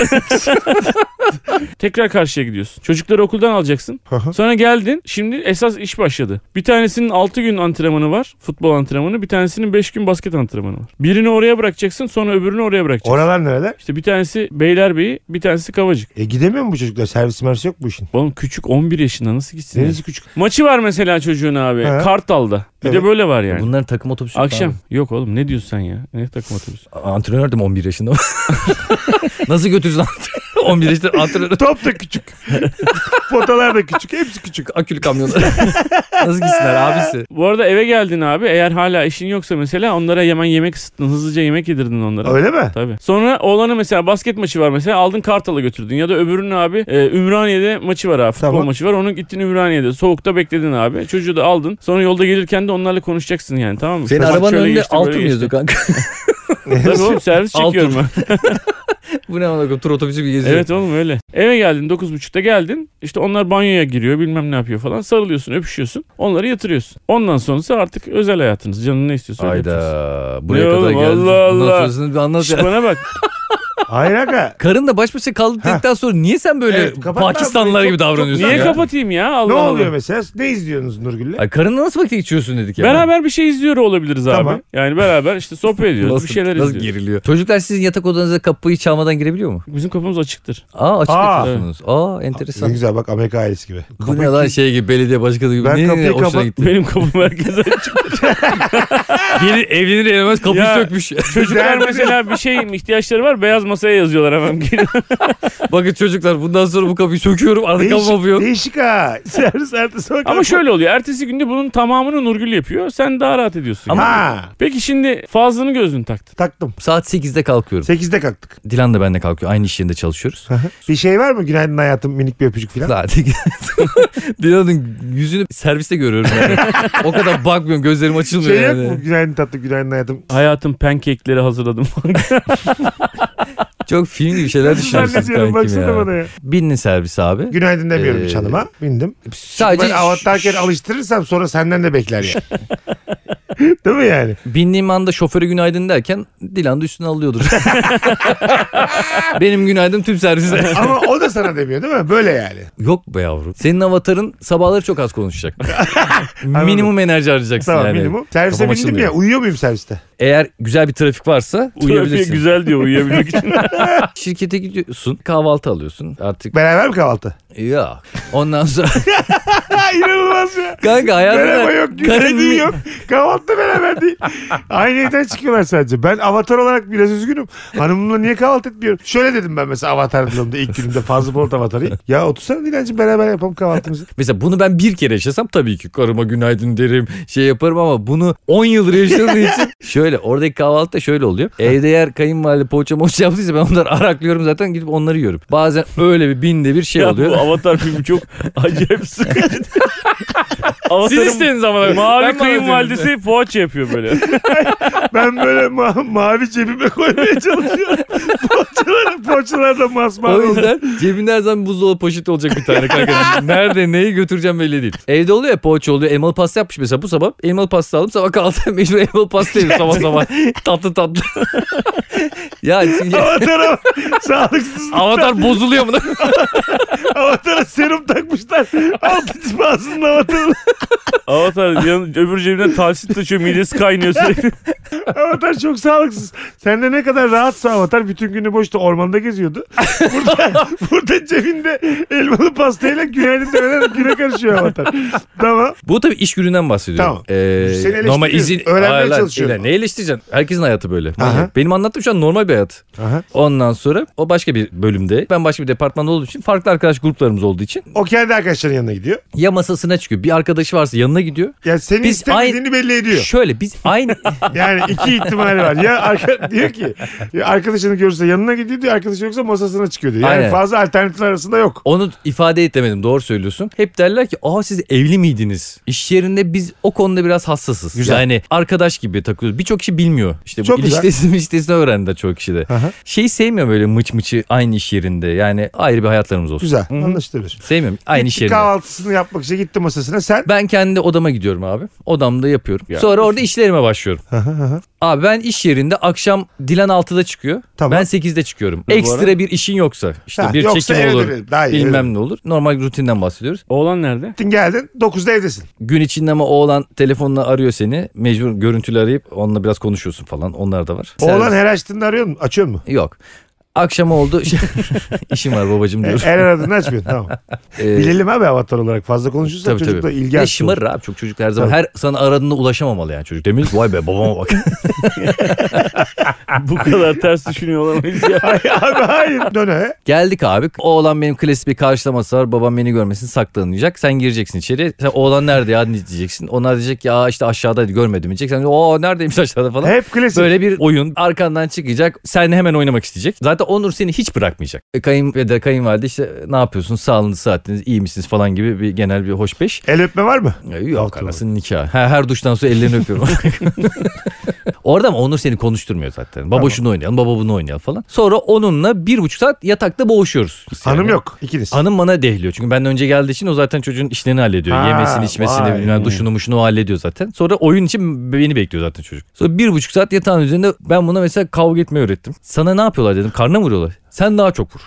[SPEAKER 3] Tekrar karşıya gidiyorsun. Çocukları okuldan alacaksın.
[SPEAKER 2] Aha.
[SPEAKER 3] Sonra geldin. Şimdi esas iş başladı. Bir tanesinin 6 gün antrenmanı var. Futbol antrenmanı. Bir tanesinin 5 gün basket antrenmanı var. Birini oraya bırakacaksın. Sonra öbürünü oraya bırakacaksın.
[SPEAKER 2] Oralar nereler?
[SPEAKER 3] işte bir tanesi Beylerbeyi, bir tanesi Kavacık.
[SPEAKER 2] E gidemiyor mu bu çocuklar? Servis mersi yok bu işin.
[SPEAKER 3] Oğlum küçük 11 yaşında nasıl gitsin? ya?
[SPEAKER 2] Neresi küçük?
[SPEAKER 3] Maçı var mesela çocuğun abi.
[SPEAKER 2] He.
[SPEAKER 3] Kartal'da. Bir
[SPEAKER 2] Evet.
[SPEAKER 3] de böyle var yani.
[SPEAKER 4] Bunların takım otobüsü. yok
[SPEAKER 3] Akşam. Yok oğlum ne diyorsun sen ya? Ne takım otobüsü?
[SPEAKER 4] abi. Antrenördüm 11 yaşında. Nasıl götürürsün 11 yaşında antrenör.
[SPEAKER 2] Top da küçük. Potalar da küçük. Hepsi küçük.
[SPEAKER 4] Akülü kamyonlar. Nasıl gitsinler abisi?
[SPEAKER 3] Bu arada eve geldin abi. Eğer hala işin yoksa mesela onlara hemen yemek ısıttın. Hızlıca yemek yedirdin onlara.
[SPEAKER 2] Öyle mi?
[SPEAKER 3] Tabii. Sonra oğlanı mesela basket maçı var mesela aldın Kartal'a götürdün ya da öbürünü abi e, Ümraniye'de maçı var abi futbol
[SPEAKER 2] Tamam.
[SPEAKER 3] maçı var onun gittin Ümraniye'de soğukta bekledin abi çocuğu da aldın sonra yolda gelirken de onlarla konuşacaksın yani tamam mı?
[SPEAKER 4] Senin
[SPEAKER 3] Bak
[SPEAKER 4] arabanın
[SPEAKER 3] şöyle
[SPEAKER 4] önünde
[SPEAKER 3] geçti,
[SPEAKER 4] altın
[SPEAKER 3] böyle
[SPEAKER 4] mı
[SPEAKER 3] geçti.
[SPEAKER 4] yazıyor kanka?
[SPEAKER 3] Tabii oğlum servis
[SPEAKER 4] Altın.
[SPEAKER 3] çekiyorum ben.
[SPEAKER 4] Bu ne amına koyayım, tur otobüsü gibi geziyor.
[SPEAKER 3] evet oğlum öyle. Eve geldin 9.30'da geldin işte onlar banyoya giriyor bilmem ne yapıyor falan sarılıyorsun öpüşüyorsun onları yatırıyorsun. Ondan sonrası artık özel hayatınız canın ne istiyorsa öyle yapıyorsun.
[SPEAKER 4] Hayda. Buraya
[SPEAKER 3] Ne
[SPEAKER 4] kadar
[SPEAKER 3] oğlum,
[SPEAKER 4] geldi.
[SPEAKER 3] Allah
[SPEAKER 4] Bundan
[SPEAKER 3] Allah.
[SPEAKER 4] sonrasını bir anlat
[SPEAKER 3] Şş,
[SPEAKER 4] ya.
[SPEAKER 3] bana bak
[SPEAKER 2] Hayır aga.
[SPEAKER 4] Karın da baş başa kaldı dedikten sonra niye sen böyle
[SPEAKER 2] Evet, kapat lan
[SPEAKER 4] Pakistanlılar
[SPEAKER 2] burayı.
[SPEAKER 4] gibi
[SPEAKER 2] Çok- çok-
[SPEAKER 4] davranıyorsun
[SPEAKER 3] niye
[SPEAKER 4] ya?
[SPEAKER 3] kapatayım ya Allah
[SPEAKER 2] Ne
[SPEAKER 3] Allah.
[SPEAKER 2] oluyor mesela? Ne izliyorsunuz Nurgül'le?
[SPEAKER 4] Ay karınla nasıl vakit geçiyorsun dedik ya.
[SPEAKER 3] Beraber bir şey izliyor olabiliriz
[SPEAKER 2] Tamam.
[SPEAKER 3] abi. Yani beraber işte sohbet ediyoruz.
[SPEAKER 4] Nasıl,
[SPEAKER 3] bir şeyler
[SPEAKER 4] nasıl
[SPEAKER 3] izliyoruz.
[SPEAKER 4] geriliyor? Çocuklar sizin yatak odanıza kapıyı çalmadan girebiliyor mu?
[SPEAKER 3] Bizim kapımız açıktır.
[SPEAKER 4] Aa açık
[SPEAKER 2] Aa.
[SPEAKER 4] yatıyorsunuz. Aa
[SPEAKER 2] Ne
[SPEAKER 4] enteresan.
[SPEAKER 2] güzel bak Amerika ailesi gibi.
[SPEAKER 4] Bu ne lan şey gibi belediye başkanı gibi.
[SPEAKER 2] Ben
[SPEAKER 4] Niye-
[SPEAKER 2] kapıyı
[SPEAKER 4] niye hoşuna
[SPEAKER 2] kapat-
[SPEAKER 4] gitti?
[SPEAKER 3] Benim kapım herkese açık.
[SPEAKER 4] Yeni evlenir evlenmez kapıyı
[SPEAKER 3] Ya.
[SPEAKER 4] sökmüş.
[SPEAKER 3] Çocuklar mesela bir şey ihtiyaçları var beyaz masaya yazıyorlar hemen.
[SPEAKER 4] Bakın çocuklar bundan sonra bu kapıyı söküyorum artık
[SPEAKER 2] Değişik,
[SPEAKER 4] kapı yok.
[SPEAKER 2] değişik ha. Servis ertesi sonra
[SPEAKER 3] Ama şöyle oluyor. Ertesi günde bunun tamamını Nurgül yapıyor. Sen daha rahat ediyorsun.
[SPEAKER 4] Ama-
[SPEAKER 2] Ha
[SPEAKER 3] Peki şimdi fazlını gözün taktın.
[SPEAKER 2] taktım.
[SPEAKER 4] Saat 8'de kalkıyorum.
[SPEAKER 2] 8'de kalktık.
[SPEAKER 4] Dilan da benimle kalkıyor. Aynı iş yerinde çalışıyoruz.
[SPEAKER 2] Bir şey var mı? Günaydın hayatım minik bir öpücük falan.
[SPEAKER 4] Lan, Dilan'ın yüzünü serviste görüyorum. Yani. o kadar bakmıyorum gözlerim açılmıyor
[SPEAKER 2] Şey yok
[SPEAKER 4] yani.
[SPEAKER 2] mu? Günaydın tatlı, günaydın hayatım.
[SPEAKER 3] Hayatım pankekleri hazırladım.
[SPEAKER 4] Çok film gibi şeyler düşünüyorsun
[SPEAKER 2] Zannediyorum
[SPEAKER 4] kankim
[SPEAKER 2] baksana bana
[SPEAKER 4] şey ya.
[SPEAKER 2] ya.
[SPEAKER 4] Bindin servis abi.
[SPEAKER 2] Günaydın demiyorum
[SPEAKER 4] Ee,
[SPEAKER 2] hiç hanıma. Bindim.
[SPEAKER 4] Sadece
[SPEAKER 2] Ben avattarken alıştırırsam sonra senden de bekler ya. Değil mi yani?
[SPEAKER 4] bindiğim anda şoföre günaydın derken Dilan da üstüne alıyordur. Benim günaydın tüm servise.
[SPEAKER 2] Ama o da sana demiyor değil mi? Böyle yani.
[SPEAKER 4] Yok be yavrum. Senin avatarın sabahları çok az konuşacak. minimum enerji harcayacaksın
[SPEAKER 2] Tamam
[SPEAKER 4] yani.
[SPEAKER 2] minimum. Servise
[SPEAKER 4] Kafam
[SPEAKER 2] bindim
[SPEAKER 4] açılmıyor.
[SPEAKER 2] ya. Uyuyor muyum serviste?
[SPEAKER 4] Eğer güzel bir trafik varsa
[SPEAKER 3] Uyuyabilirsin.
[SPEAKER 4] uyuyabilirsin.
[SPEAKER 3] güzel diyor uyuyabilmek için.
[SPEAKER 4] Şirkete gidiyorsun kahvaltı alıyorsun artık.
[SPEAKER 2] Beraber mi kahvaltı?
[SPEAKER 4] Ya. Ondan sonra
[SPEAKER 2] Ha, İnanılmaz ya.
[SPEAKER 4] kanka hayatında
[SPEAKER 2] Merhaba yok,
[SPEAKER 4] karın
[SPEAKER 2] günaydın yok. Kahvaltı da beraber değil. Aynı evden çıkıyorlar sadece. Ben avatar olarak biraz üzgünüm. Hanımımla niye kahvaltı etmiyorum? Şöyle dedim ben mesela avatar videomda ilk günümde fazla Polat avatarı. Ya otursana Dilancığım beraber yapalım kahvaltımızı.
[SPEAKER 4] Mesela bunu ben bir kere yaşasam tabii ki karıma günaydın derim şey yaparım ama bunu 10 yıldır yaşadığım için şöyle oradaki kahvaltı da şöyle oluyor. Evde eğer kayınvalide poğaça moğaça yaptıysa ben onları araklıyorum zaten gidip onları yiyorum. Bazen öyle bir binde bir şey
[SPEAKER 3] ya bu
[SPEAKER 4] oluyor.
[SPEAKER 3] Avatar filmi çok acayip sıkıcı.
[SPEAKER 4] Siz
[SPEAKER 3] Avatar'ın
[SPEAKER 4] istediniz ama. Ben
[SPEAKER 3] mavi
[SPEAKER 4] bana diyorum.
[SPEAKER 3] kayınvalidesi poğaça yapıyor böyle.
[SPEAKER 2] Ben böyle ma- mavi cebime koymaya çalışıyorum. Poğaçalar, poğaçalar da masmavi.
[SPEAKER 4] O
[SPEAKER 2] oldu.
[SPEAKER 4] yüzden cebinde her zaman buzdolabı poşeti olacak bir tane kanka. Nerede neyi götüreceğim belli değil. Evde oluyor ya poğaça oluyor. Elmalı pasta yapmış mesela bu sabah. Elmalı pasta aldım sabah kaldım. Mecbur elmalı pasta yedim sabah sabah. tatlı tatlı. ya şimdi-
[SPEAKER 2] Avatara sağlıksız.
[SPEAKER 4] Avatar bozuluyor mu?
[SPEAKER 2] Avatara serum takmışlar. Altı cipasının avatarı.
[SPEAKER 3] Avatar yan, öbür cebinden talsit taşıyor midesi kaynıyor sürekli.
[SPEAKER 2] Avatar çok sağlıksız. Sen de ne kadar rahatsa Avatar bütün günü boşta ormanda geziyordu. Burada, burada cebinde elmalı pastayla günaydın demeden güne karışıyor Avatar. Tamam.
[SPEAKER 4] Bu tabii iş gününden bahsediyorum. Ee,
[SPEAKER 2] Tamam. Seni eleştiriyoruz. Öğrenmeye
[SPEAKER 4] Hayır lan,
[SPEAKER 2] çalışıyorum.
[SPEAKER 4] ilan- Ne eleştireceksin? Herkesin hayatı böyle.
[SPEAKER 2] Aha.
[SPEAKER 4] Benim anlattığım şu an normal bir hayat.
[SPEAKER 2] Aha.
[SPEAKER 4] Ondan sonra o başka bir bölümde. Ben başka bir departmanda olduğum için farklı arkadaş gruplarımız olduğu için
[SPEAKER 2] O kendi arkadaşlarının yanına gidiyor.
[SPEAKER 4] ya masasına çıkıyor. Bir arkadaşı varsa yanına gidiyor.
[SPEAKER 2] Yani seni
[SPEAKER 4] Biz
[SPEAKER 2] istemediğini belli ediyor.
[SPEAKER 4] Şöyle biz aynı
[SPEAKER 2] Yani iki ihtimali var. Ya arka, diyor ki ya arkadaşını görürse yanına gidiyor diyor. Arkadaşı yoksa masasına çıkıyor diyor. Yani
[SPEAKER 4] Aynen.
[SPEAKER 2] fazla alternatifler arasında yok.
[SPEAKER 4] onu ifade etmedim. Doğru söylüyorsun. Hep derler ki aa siz evli miydiniz? İş yerinde biz o konuda biraz hassasız.
[SPEAKER 2] Güzel.
[SPEAKER 4] Yani arkadaş gibi takılıyoruz. Birçok kişi bilmiyor. İşte bu
[SPEAKER 2] Çok güzel.
[SPEAKER 4] ilişkisini ilişkisini öğrendi de çoğu kişi de.
[SPEAKER 2] Aha.
[SPEAKER 4] Şeyi sevmiyorum böyle mıç mıçı aynı iş yerinde. Yani ayrı bir hayatlarımız olsun.
[SPEAKER 2] Güzel. Anlaşılabilir.
[SPEAKER 4] Sevmiyorum. Aynı
[SPEAKER 2] Gitti
[SPEAKER 4] şey.
[SPEAKER 2] Kahvaltısını yapmak için gitti masasına. Sen
[SPEAKER 4] Ben kendi odama gidiyorum abi. Odamda yapıyorum. Sonra orada işlerime başlıyorum. abi ben iş yerinde akşam Dilan 6'da çıkıyor.
[SPEAKER 2] Tamam.
[SPEAKER 4] Ben 8'de çıkıyorum. Ekstra bir işin yoksa. işte
[SPEAKER 2] Ha,
[SPEAKER 4] bir
[SPEAKER 2] yoksa
[SPEAKER 4] çekim
[SPEAKER 2] evde
[SPEAKER 4] olur.
[SPEAKER 2] verelim. Daha iyi,
[SPEAKER 4] bilmem
[SPEAKER 2] verelim.
[SPEAKER 4] ne olur. Normal rutinden bahsediyoruz.
[SPEAKER 3] Oğlan nerede?
[SPEAKER 2] gittin geldin 9'da evdesin.
[SPEAKER 4] Gün içinde ama oğlan telefonla arıyor seni. Mecbur görüntülü arayıp onunla biraz konuşuyorsun falan. Onlar da var.
[SPEAKER 2] Oğlan
[SPEAKER 4] Servis-
[SPEAKER 2] her açtığında arıyor mu? Açıyor mu?
[SPEAKER 4] Yok. Akşam oldu. Şey, İşim var babacım diyor.
[SPEAKER 2] Her E, aradığını açmıyorsun tamam. E,
[SPEAKER 4] Ee,
[SPEAKER 2] Bilelim abi avatar olarak fazla konuşursan
[SPEAKER 4] Tabii,
[SPEAKER 2] çocuk da
[SPEAKER 4] tabii.
[SPEAKER 2] ilgi
[SPEAKER 4] Ne
[SPEAKER 2] açsın.
[SPEAKER 4] şımarır abi çok çocuk her zaman. Her sana aradığında ulaşamamalı yani çocuk. Demir vay be babama bak.
[SPEAKER 3] Bu kadar ters düşünüyor olamayız ya.
[SPEAKER 2] abi hayır döne.
[SPEAKER 4] Geldik abi. Oğlan benim klasik bir karşılaması var. Babam beni görmesin saklanacak. Sen gireceksin içeri. Sen oğlan nerede ya diyeceksin. Onlar diyecek ya işte aşağıdaydı görmedim diyecek. Sen de, o neredeymiş aşağıda falan.
[SPEAKER 2] Hep klasik.
[SPEAKER 4] Böyle bir oyun arkandan çıkacak. Sen hemen oynamak isteyecek. Zaten Onur seni hiç bırakmayacak. E, Kayınpeder, kayınvalide işte e, ne yapıyorsun? Sağlığınız, saatiniz, iyi misiniz falan gibi bir genel bir hoşbeş.
[SPEAKER 2] El öpme var mı?
[SPEAKER 4] Ya Yok
[SPEAKER 2] Altı
[SPEAKER 4] anasının nikahı. Her, her duştan sonra ellerini öpüyorum. Orada ama Onur seni konuşturmuyor zaten. Baba
[SPEAKER 2] Tamam.
[SPEAKER 4] şunu oynayalım, baba bunu oynayalım falan. Sonra onunla bir buçuk saat yatakta boğuşuyoruz. biz
[SPEAKER 2] Hanım
[SPEAKER 4] yani.
[SPEAKER 2] yok. İkiniz.
[SPEAKER 4] Hanım bana dehliyor. Çünkü benden önce geldiği için o zaten çocuğun işlerini hallediyor.
[SPEAKER 2] Ha,
[SPEAKER 4] Yemesini, içmesini,
[SPEAKER 2] vay.
[SPEAKER 4] bilmem duşunu muşunu o hallediyor zaten. Sonra oyun için beni bekliyor zaten çocuk. Sonra bir buçuk saat yatağın üzerinde ben buna mesela kavga etmeyi öğrettim. Sana ne yapıyorlar dedim. Karnına mı vuruyorlar. Sen daha çok vur.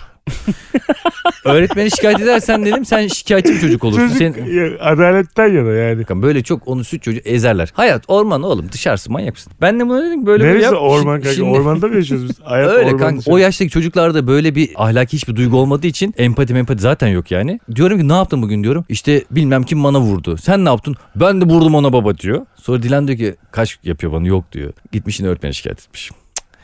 [SPEAKER 4] Öğretmeni şikayet edersen dedim sen şikayetçi bir çocuk olursun.
[SPEAKER 2] Çocuk
[SPEAKER 4] Sen,
[SPEAKER 2] ya, adaletten yana yani.
[SPEAKER 4] Bakın böyle çok onu süt çocuğu ezerler. Hayat orman oğlum dışarısı manyak mısın? Ben de buna dedim böyle böyle
[SPEAKER 2] Neresi
[SPEAKER 4] yap.
[SPEAKER 2] orman
[SPEAKER 4] Şi-
[SPEAKER 2] kanka?
[SPEAKER 4] şimdi-
[SPEAKER 2] Ormanda mı yaşıyoruz biz? Hayat
[SPEAKER 4] Öyle
[SPEAKER 2] orman
[SPEAKER 4] kanka
[SPEAKER 2] dışarı.
[SPEAKER 4] o yaştaki çocuklarda böyle bir ahlaki hiçbir duygu olmadığı için empati empati zaten yok yani. Diyorum ki ne yaptın bugün diyorum. İşte bilmem kim bana vurdu. Sen ne yaptın? Ben de vurdum ona baba diyor. Sonra Dilan diyor ki kaç yapıyor bana yok diyor. Gitmiş yine öğretmeni şikayet etmiş. Cık.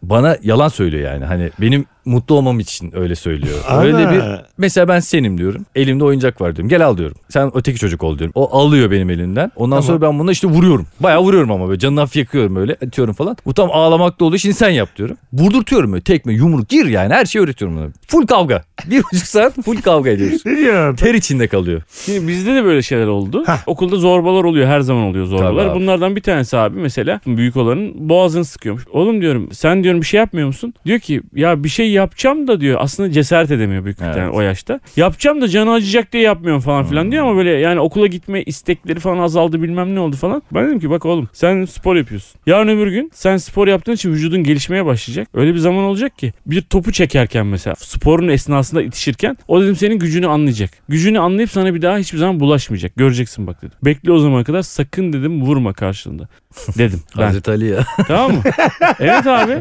[SPEAKER 4] Bana yalan söylüyor yani hani benim mutlu olmam için öyle söylüyor. Öyle
[SPEAKER 2] Ana.
[SPEAKER 4] bir Mesela ben senim diyorum. Elimde oyuncak var diyorum. Gel al diyorum. Sen öteki çocuk ol diyorum. O alıyor benim elimden. Ondan
[SPEAKER 2] Tamam.
[SPEAKER 4] sonra ben buna işte vuruyorum. Bayağı vuruyorum ama böyle canını hafif yakıyorum böyle. Atıyorum falan. Bu tam ağlamakta olduğu için sen yap diyorum. Vurdurtuyorum böyle tekme yumruk gir yani her şeyi öğretiyorum ona. Full kavga. Bir buçuk saat full kavga ediyoruz.
[SPEAKER 2] Ne diyorsun? lan?
[SPEAKER 4] Ter içinde kalıyor.
[SPEAKER 3] Şimdi bizde de böyle şeyler oldu.
[SPEAKER 2] Hah.
[SPEAKER 3] Okulda zorbalar oluyor. Her zaman oluyor
[SPEAKER 4] Tabii
[SPEAKER 3] zorbalar.
[SPEAKER 4] abi.
[SPEAKER 3] Bunlardan bir tanesi abi mesela büyük olanın boğazını sıkıyormuş. Oğlum diyorum sen diyorum bir şey yapmıyor musun? Diyor ki ya bir şey yapacağım da diyor. Aslında cesaret edemiyor büyük bir
[SPEAKER 4] Evet.
[SPEAKER 3] tane o yaşta. Yapacağım da canı acıyacak diye yapmıyorum falan filan diyor ama böyle yani okula gitme istekleri falan azaldı bilmem ne oldu falan. Ben dedim ki bak oğlum sen spor yapıyorsun. Yarın öbür gün sen spor yaptığın için vücudun gelişmeye başlayacak. Öyle bir zaman olacak ki bir topu çekerken mesela sporun esnasında itişirken o dedim senin gücünü anlayacak. Gücünü anlayıp sana bir daha hiçbir zaman bulaşmayacak. Göreceksin bak dedim. Bekle o zamana kadar sakın dedim vurma karşılığında. Dedim ben.
[SPEAKER 4] Hazreti Ali ya.
[SPEAKER 3] tamam mı? Evet abi.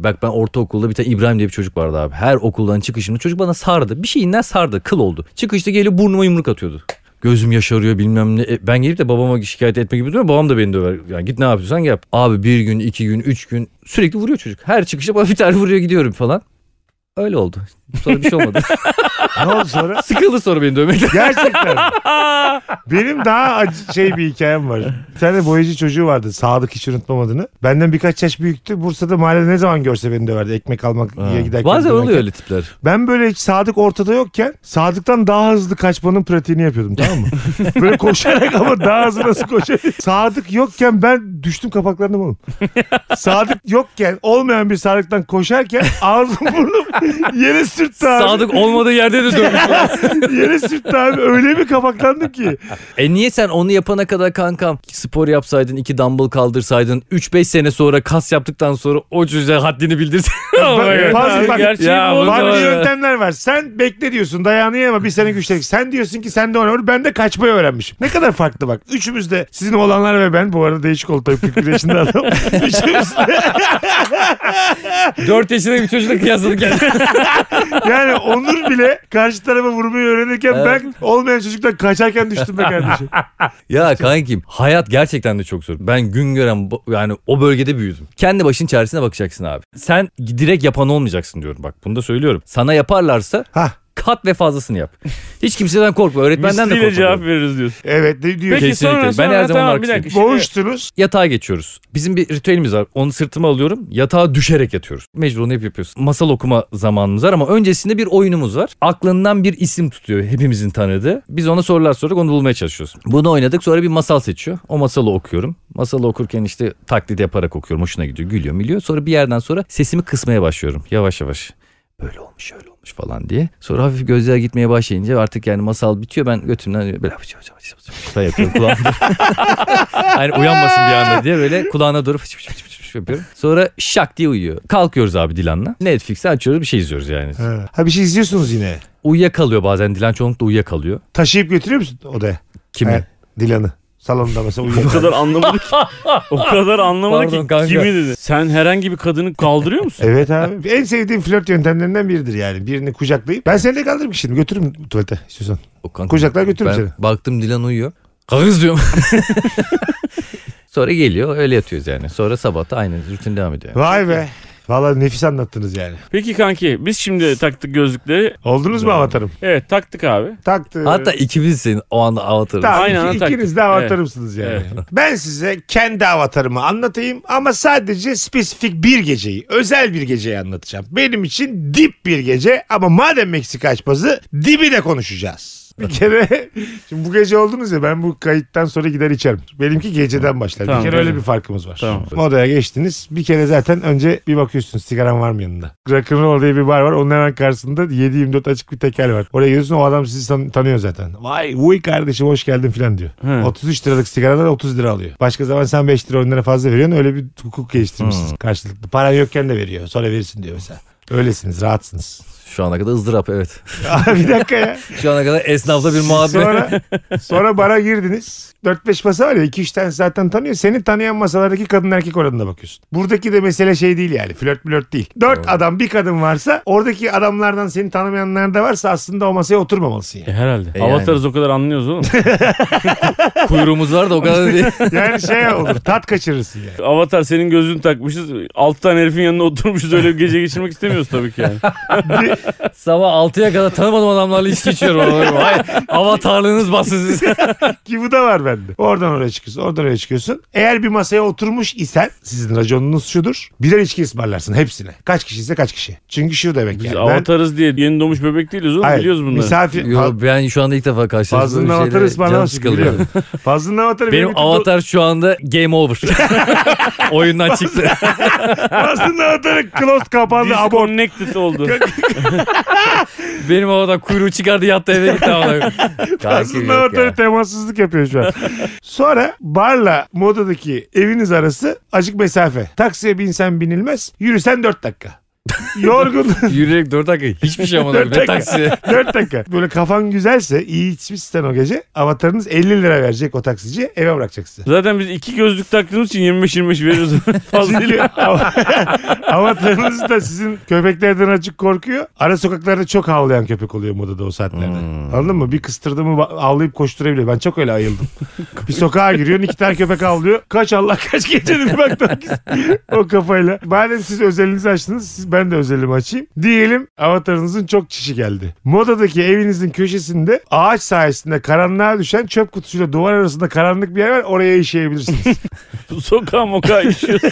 [SPEAKER 4] Bak ben ortaokulda bir tane İbrahim diye bir çocuk vardı abi. Her okuldan çıkışımda çocuk bana sardı. Bir şeyinden sardı. Kıl oldu. Çıkışta geliyor burnuma yumruk atıyordu. Gözüm yaşarıyor bilmem ne. E, ben gelip de babama şikayet etme gibi duruyor. Babam da beni döver. Yani git ne yapıyorsan yap. Abi bir gün, iki gün, üç gün sürekli vuruyor çocuk. Her çıkışta bana bir tane vuruyor gidiyorum falan. Öyle oldu. Sonra bir şey olmadı.
[SPEAKER 2] ne oldu sonra?
[SPEAKER 4] Sıkıldı sonra beni dövmekten.
[SPEAKER 2] Gerçekten. Benim daha acı şey bir hikayem var. Bir tane boyacı çocuğu vardı. Sadık hiç unutmam adını. Benden birkaç yaş büyüktü. Bursa'da mahallede ne zaman görse beni döverdi. Ekmek almak yiye giderken.
[SPEAKER 4] Bazen
[SPEAKER 2] dönerken.
[SPEAKER 4] oluyor öyle tipler.
[SPEAKER 2] Ben böyle hiç Sadık ortada yokken Sadık'tan daha hızlı kaçmanın pratiğini yapıyordum tamam mı? böyle koşarak ama daha hızlı nasıl koşar? Sadık yokken ben düştüm kapaklarına oğlum. Sadık yokken olmayan bir Sadık'tan koşarken ağzım burnum yere sürttü abi.
[SPEAKER 4] Sadık olmadığı yerde de dövmüş.
[SPEAKER 2] Yere sürttü abi. Öyle bir kapaklandım ki.
[SPEAKER 4] E niye sen onu yapana kadar kankam spor yapsaydın, iki dumbbell kaldırsaydın, 3-5 sene sonra kas yaptıktan sonra o çocuğa haddini bildirsin.
[SPEAKER 2] Bak-
[SPEAKER 3] Abi
[SPEAKER 2] Fazla bak.
[SPEAKER 3] gerçeği
[SPEAKER 4] Ya
[SPEAKER 3] bu.
[SPEAKER 4] bunu-
[SPEAKER 2] Farklı
[SPEAKER 4] Doğru.
[SPEAKER 2] yöntemler var. Sen bekle diyorsun dayanıyor ama bir sene güçlenik. Sen diyorsun ki sen de onu ben de kaçmayı öğrenmişim. Ne kadar farklı bak. Üçümüz de sizin olanlar ve ben bu arada değişik oldu tabii 41 yaşında adam. Üçümüz de
[SPEAKER 4] 4 yaşındaki bir çocukla kıyasladık yani.
[SPEAKER 2] yani Onur bile karşı tarafa vurmayı öğrenirken ben olmayan çocuktan kaçarken düştüm be kardeşim.
[SPEAKER 4] ya kankim hayat gerçekten de çok zor. Ben gün gören bu- yani o bölgede büyüdüm. Kendi başın çaresine bakacaksın abi. Sen direkt yapan olmayacaksın diyorum bak bunu da söylüyorum. Sana yaparlarsa
[SPEAKER 2] Hah.
[SPEAKER 4] kat ve fazlasını yap. Hiç kimseden korkma öğretmenden de
[SPEAKER 3] Misliyle
[SPEAKER 4] korkma.
[SPEAKER 3] cevap veririz diyorsun.
[SPEAKER 2] Evet ne diyor?
[SPEAKER 3] Peki
[SPEAKER 2] ki?
[SPEAKER 4] Kesinlikle.
[SPEAKER 3] sonra
[SPEAKER 4] Ben
[SPEAKER 3] sonra
[SPEAKER 4] her zaman
[SPEAKER 3] tamam bir
[SPEAKER 4] Marksiyim.
[SPEAKER 3] dakika. Şimdi-
[SPEAKER 2] Boğuştunuz.
[SPEAKER 4] Yatağa geçiyoruz. Bizim bir ritüelimiz var. Onu sırtıma alıyorum. Yatağa düşerek yatıyoruz. Mecbur onu hep yapıyoruz. Masal okuma zamanımız var ama öncesinde bir oyunumuz var. Aklından bir isim tutuyor hepimizin tanıdığı. Biz ona sorular sorarak onu bulmaya çalışıyoruz. Bunu oynadık sonra bir masal seçiyor. O masalı okuyorum. Masalı okurken işte taklit yaparak okuyorum. Hoşuna gidiyor. Gülüyor milyor. Sonra bir yerden sonra sesimi kısmaya başlıyorum. Yavaş yavaş. Böyle olmuş öyle olmuş falan diye. Sonra hafif gözler gitmeye başlayınca artık yani masal bitiyor. Ben götümden böyle falan yapıyorum kulağımda. Hani uyanmasın bir anda diye böyle kulağına doğru fıç fıç fıç fıç fıç yapıyorum. Sonra şak diye uyuyor. Kalkıyoruz abi Dilan'la. Netflix'i açıyoruz bir şey izliyoruz yani.
[SPEAKER 2] Ha. ha bir şey izliyorsunuz yine.
[SPEAKER 4] Uyuyakalıyor bazen Dilan çoğunlukla uyuyakalıyor.
[SPEAKER 2] Taşıyıp götürüyor musun odaya?
[SPEAKER 4] Kimi?
[SPEAKER 2] Ha, Dilan'ı. Salonda mesela
[SPEAKER 3] O
[SPEAKER 2] uyuyor.
[SPEAKER 3] kadar anlamadı ki. O kadar anlamadı
[SPEAKER 4] Pardon
[SPEAKER 3] ki
[SPEAKER 4] kanka.
[SPEAKER 3] kimi dedi. Sen herhangi bir kadını kaldırıyor musun?
[SPEAKER 2] Evet abi. En sevdiğim flört yöntemlerinden biridir yani. Birini kucaklayıp. Ben seni de kaldırırım ki şimdi. Götürürüm tuvalete istiyorsan.
[SPEAKER 4] O kanka-
[SPEAKER 2] Kucaklar götürürüm
[SPEAKER 4] ben
[SPEAKER 2] seni.
[SPEAKER 4] Baktım Dilan uyuyor. Kalkınız diyorum. Sonra geliyor öyle yatıyoruz yani. Sonra sabah da aynı rutin devam ediyor.
[SPEAKER 2] Vay be. Valla nefis anlattınız yani.
[SPEAKER 3] Peki kanki biz şimdi taktık gözlükleri.
[SPEAKER 2] Oldunuz mu avatarım?
[SPEAKER 3] Evet taktık abi.
[SPEAKER 2] Taktı.
[SPEAKER 4] Hatta ikimizsin o anda avatarız.
[SPEAKER 2] Tamam,
[SPEAKER 3] Aynen,
[SPEAKER 2] iki-
[SPEAKER 3] taktik.
[SPEAKER 2] ikiniz de avatarımsınız yani. Ben size kendi avatarımı anlatayım ama sadece spesifik bir geceyi, özel bir geceyi anlatacağım. Benim için dip bir gece ama madem Meksika açması dibi de konuşacağız. Bir kere şimdi bu gece oldunuz ya ben bu kayıttan sonra gider içerim. Benimki geceden başlar.
[SPEAKER 3] Tamam,
[SPEAKER 2] bir kere
[SPEAKER 3] tamam.
[SPEAKER 2] öyle bir farkımız var.
[SPEAKER 3] Tamam.
[SPEAKER 2] Modaya geçtiniz. Bir kere zaten önce bir bakıyorsun sigaran var mı yanında. Rock'n'roll diye bir bar var. Onun hemen karşısında 7-24 açık bir tekel var. Oraya gidiyorsun o adam sizi tan- tanıyor zaten. Vay uy kardeşim hoş geldin falan diyor.
[SPEAKER 3] He.
[SPEAKER 2] 33 liralık sigaradan 30 lira alıyor. Başka zaman sen 5 lira 10 lira fazla veriyorsun. Öyle bir hukuk
[SPEAKER 3] Hmm.
[SPEAKER 2] geliştirmişsiniz karşılıklı. Paran yokken de veriyor. Sonra verirsin diyor mesela. Öylesiniz rahatsınız.
[SPEAKER 4] Şu ana kadar ızdırap evet.
[SPEAKER 2] Aa, bir dakika ya.
[SPEAKER 4] Şu ana kadar esnafla bir muhabbet.
[SPEAKER 2] Sonra, sonra bara girdiniz. 4-5 masa var ya 2-3 tane zaten tanıyor. Seni tanıyan masalardaki kadın erkek oranına bakıyorsun. Buradaki de mesele şey değil yani. Flört flört değil. 4 adam bir kadın varsa oradaki adamlardan seni tanımayanlar da varsa aslında o masaya oturmamalısın yani.
[SPEAKER 3] E, herhalde.
[SPEAKER 4] E, yani.
[SPEAKER 3] Avatarız o kadar anlıyoruz oğlum.
[SPEAKER 4] Kuyruğumuz var da o kadar değil.
[SPEAKER 2] Yani şey olur tat kaçırırsın yani.
[SPEAKER 3] Avatar senin gözünü takmışız. Alt tane herifin yanına oturmuşuz öyle bir gece geçirmek istemiyoruz tabii ki yani.
[SPEAKER 4] Sabah 6'ya kadar tanımadığım adamlarla içki içiyorum. Vay, avatarlığınız bassın siz.
[SPEAKER 2] Ki bu da var bende. Oradan oraya çıkıyorsun. Oradan oraya çıkıyorsun. Eğer bir masaya oturmuş isen sizin raconunuz şudur. Birer içki ısmarlarsın hepsine. Kaç kişi ise kaç kişi. Çünkü şu demek
[SPEAKER 3] Biz
[SPEAKER 2] yani. Ben-
[SPEAKER 3] avatarız diye yeni doğmuş bebek değiliz oğlum
[SPEAKER 2] Hayır,
[SPEAKER 3] biliyoruz bunları.
[SPEAKER 2] Misafir,
[SPEAKER 4] Yo, ben şu anda ilk defa karşılaştım.
[SPEAKER 2] Fazlının
[SPEAKER 4] Böyle
[SPEAKER 2] avatarı
[SPEAKER 4] şeylere canım
[SPEAKER 2] ısmarlaması
[SPEAKER 4] sıkılıyor.
[SPEAKER 2] biliyorum. Fazlının avatarı
[SPEAKER 4] Benim avatar şu anda game over. Oyundan çıktı.
[SPEAKER 2] Fazlının avatarı close kapandı. abort.
[SPEAKER 3] Disconnected oldu.
[SPEAKER 4] Benim avatar kuyruğu çıkardı yattı eve gitti. ama. Takip
[SPEAKER 2] Aslında
[SPEAKER 4] yok
[SPEAKER 2] avatarı
[SPEAKER 4] ya.
[SPEAKER 2] temassızlık yapıyor şu an. Sonra barla modadaki eviniz arası acık mesafe. Taksiye binsen binilmez. Yürüsen 4 dakika. Yorgun.
[SPEAKER 4] Yürüyerek 4 dakika hiçbir şey olmadı.
[SPEAKER 2] Dört
[SPEAKER 4] Ben
[SPEAKER 2] dakika.
[SPEAKER 4] taksi.
[SPEAKER 2] 4 dakika. Böyle kafan güzelse iyi içmişsen o gece avatarınız 50 lira verecek o taksiciye eve bırakacak sizi.
[SPEAKER 3] Zaten biz iki gözlük taktığımız için 25-25 veriyoruz. Fazla
[SPEAKER 2] Çünkü av- avatarınız da sizin köpeklerden açık korkuyor. Ara sokaklarda çok havlayan köpek oluyor modada o saatlerde. Anladın mı? Bir kıstırdı mı ba- havlayıp koşturabiliyor. Ben çok öyle ayıldım. bir sokağa giriyorsun iki tane köpek havlıyor. Kaç Allah kaç gecenin bir baktım ki- o kafayla. Madem siz özelinizi açtınız siz, ben de özelimi açayım. Diyelim avatarınızın çok çişi geldi. Modadaki evinizin köşesinde ağaç sayesinde karanlığa düşen çöp kutusuyla duvar arasında karanlık bir yer var. Oraya işeyebilirsiniz.
[SPEAKER 3] sokağa mokağa işiyoruz.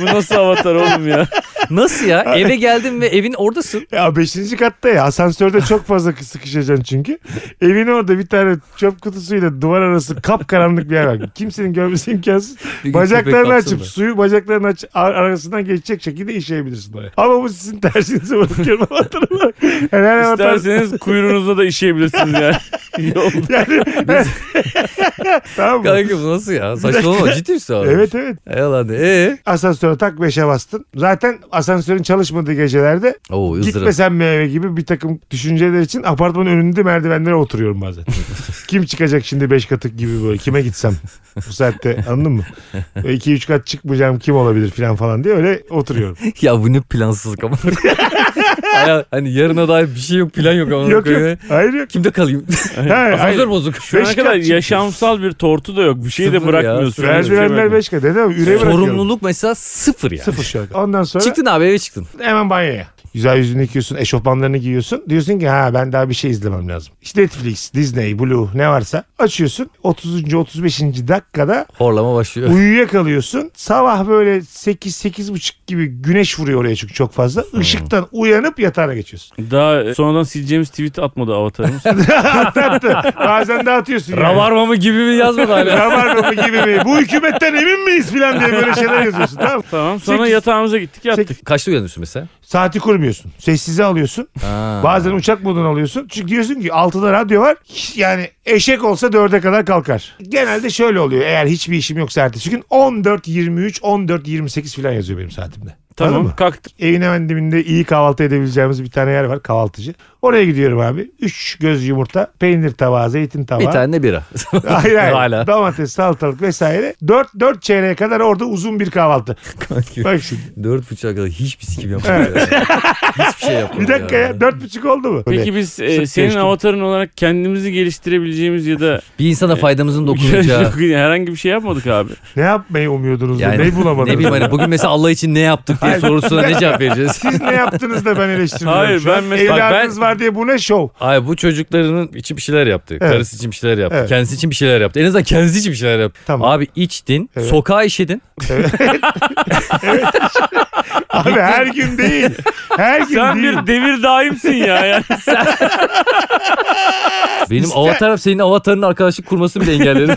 [SPEAKER 3] Bu nasıl avatar oğlum ya?
[SPEAKER 4] Nasıl ya? Eve geldim ve evin oradasın.
[SPEAKER 2] Ya beşinci katta ya asansörde çok fazla sıkışacaksın çünkü. Evin orada bir tane çöp kutusuyla duvar arası kapkaranlık bir yer var. Kimsenin görmesi imkansız.
[SPEAKER 4] Bir gün
[SPEAKER 2] Bacaklarını
[SPEAKER 4] köpek
[SPEAKER 2] açıp
[SPEAKER 4] baksana.
[SPEAKER 2] suyu bacaklarını aç, ar- arasından geçecek şekilde işeyebilirsin oraya. Ama bu sizin tersinize bakıyorum avatar olarak. Yani her avatar-
[SPEAKER 3] İsterseniz kuyruğunuzda da işeyebilirsiniz yani. İyi oldu.
[SPEAKER 2] Yani, tamam mı?
[SPEAKER 4] Kanka bu nasıl ya? Saçmalama ciddi misin abi?
[SPEAKER 2] Evet evet.
[SPEAKER 4] Ey lan ee?
[SPEAKER 2] Asansöre tak beşe bastın. Zaten asansörün çalışmadığı gecelerde
[SPEAKER 4] Oo ızdırap.
[SPEAKER 2] Gitmesen mi eve gibi bir takım düşünceler için apartmanın önünde merdivenlere oturuyorum bazen. Kim çıkacak şimdi 5 katı gibi böyle kime gitsem bu saatte anladın mı? 2-3 kat çıkmayacağım kim olabilir falan falan diye öyle oturuyorum.
[SPEAKER 4] Ya bu ne plansızlık ama. Hala hani yarına dair bir şey yok plan yok ama.
[SPEAKER 2] yok yok hayır yok.
[SPEAKER 4] Kimde kalayım?
[SPEAKER 2] Ha, hayır.
[SPEAKER 4] Asansör bozuk.
[SPEAKER 3] Şu ana
[SPEAKER 2] Beş
[SPEAKER 3] kadar
[SPEAKER 2] kat çıktı.
[SPEAKER 3] yaşamsal bir tortu da yok. Bir şey de
[SPEAKER 4] Sıfır ya,
[SPEAKER 3] bırakmıyorsun.
[SPEAKER 4] sıfır.
[SPEAKER 3] Bir şey
[SPEAKER 2] Merdivenler
[SPEAKER 3] bırakmıyorsun.
[SPEAKER 2] 5 kat. Dedim, üre bırakıyorum.
[SPEAKER 4] Sorumluluk mesela sıfır yani.
[SPEAKER 2] Sıfır şu an. Ondan sonra
[SPEAKER 4] Çıktın abi eve çıktın.
[SPEAKER 2] hemen banyoya. Güzel yüzünü yıkıyorsun, eşofmanlarını giyiyorsun. Diyorsun ki ha ben daha bir şey izlemem lazım. İşte Netflix, Disney, Blue ne varsa açıyorsun. 30. 35. dakikada
[SPEAKER 4] Horlama başlıyor.
[SPEAKER 2] Uyuyakalıyorsun. Sabah böyle 8 8 buçuk gibi güneş vuruyor oraya çünkü çok fazla. Işıktan uyanıp yatağına geçiyorsun.
[SPEAKER 3] Daha sonradan sileceğimiz tweet atmadı avatarımız.
[SPEAKER 2] Attı attı. Bazen de atıyorsun. yani.
[SPEAKER 4] Rabarba mı gibi mi yazmadı hala.
[SPEAKER 2] Rabarba gibi mi? Bu hükümetten emin miyiz filan diye böyle şeyler yazıyorsun. Tamam.
[SPEAKER 3] tamam sonra
[SPEAKER 2] Sekiz-
[SPEAKER 3] yatağımıza gittik yattık.
[SPEAKER 2] Sek-
[SPEAKER 4] Kaçta uyanıyorsun mesela?
[SPEAKER 2] saati kurmuyorsun. Sessize alıyorsun.
[SPEAKER 4] Aa.
[SPEAKER 2] Bazen uçak moduna alıyorsun. Çünkü diyorsun ki 6'da radyo var. Yani eşek olsa 4'e kadar kalkar. Genelde şöyle oluyor. Eğer hiçbir işim yoksa ertesi gün 14.23, 14.28 filan yazıyor benim saatimde. Anladın mı?
[SPEAKER 3] Tamam kalktık.
[SPEAKER 2] Evin hemen dibinde iyi kahvaltı edebileceğimiz bir tane yer var kahvaltıcı. Oraya gidiyorum abi. Üç göz yumurta, peynir tabağı, zeytin tabağı.
[SPEAKER 4] Bir tane de bira.
[SPEAKER 2] Hayır hayır.
[SPEAKER 4] Hala.
[SPEAKER 2] Domates, salatalık vesaire. Dört, dört çeyreğe kadar orada uzun bir kahvaltı. Bak şimdi.
[SPEAKER 4] Dört buçuğa kadar hiç sikim yapmadım. ya. Hiçbir şey yapmadım.
[SPEAKER 2] Bir dakika ya. Dört buçuk oldu mu?
[SPEAKER 3] Peki biz e, senin
[SPEAKER 2] geçtim.
[SPEAKER 3] avatarın olarak kendimizi geliştirebileceğimiz ya da
[SPEAKER 4] Bir insana faydamızın dokunacağı.
[SPEAKER 3] herhangi bir şey yapmadık abi.
[SPEAKER 2] Ne yapmayı umuyordunuz? da Neyi bulamadınız?
[SPEAKER 4] ne bileyim hani bugün mesela Allah için ne yaptık diye sorusuna ne cevap vereceğiz?
[SPEAKER 2] Siz ne yaptınız da ben eleştiriyorum
[SPEAKER 3] Hayır,
[SPEAKER 2] şu an.
[SPEAKER 3] ben mesela- bak,
[SPEAKER 2] Evladınız
[SPEAKER 3] ben-
[SPEAKER 2] var diye bu ne şov?
[SPEAKER 4] Ay bu çocuklarının için bir şeyler yaptı. Karısı için bir şeyler yaptı.
[SPEAKER 2] Evet.
[SPEAKER 4] Kendisi için bir şeyler yaptı. En azından kendisi için bir şeyler yaptı.
[SPEAKER 2] Tamam.
[SPEAKER 4] Abi içtin,
[SPEAKER 2] Evet.
[SPEAKER 4] sokağa işedin.
[SPEAKER 2] Abi her gün değil. Her gün
[SPEAKER 3] Sen
[SPEAKER 2] değil.
[SPEAKER 3] bir devir daimsin ya. Yani
[SPEAKER 4] Benim avatarım senin avatarın arkadaşlık kurmasını bile engelledi.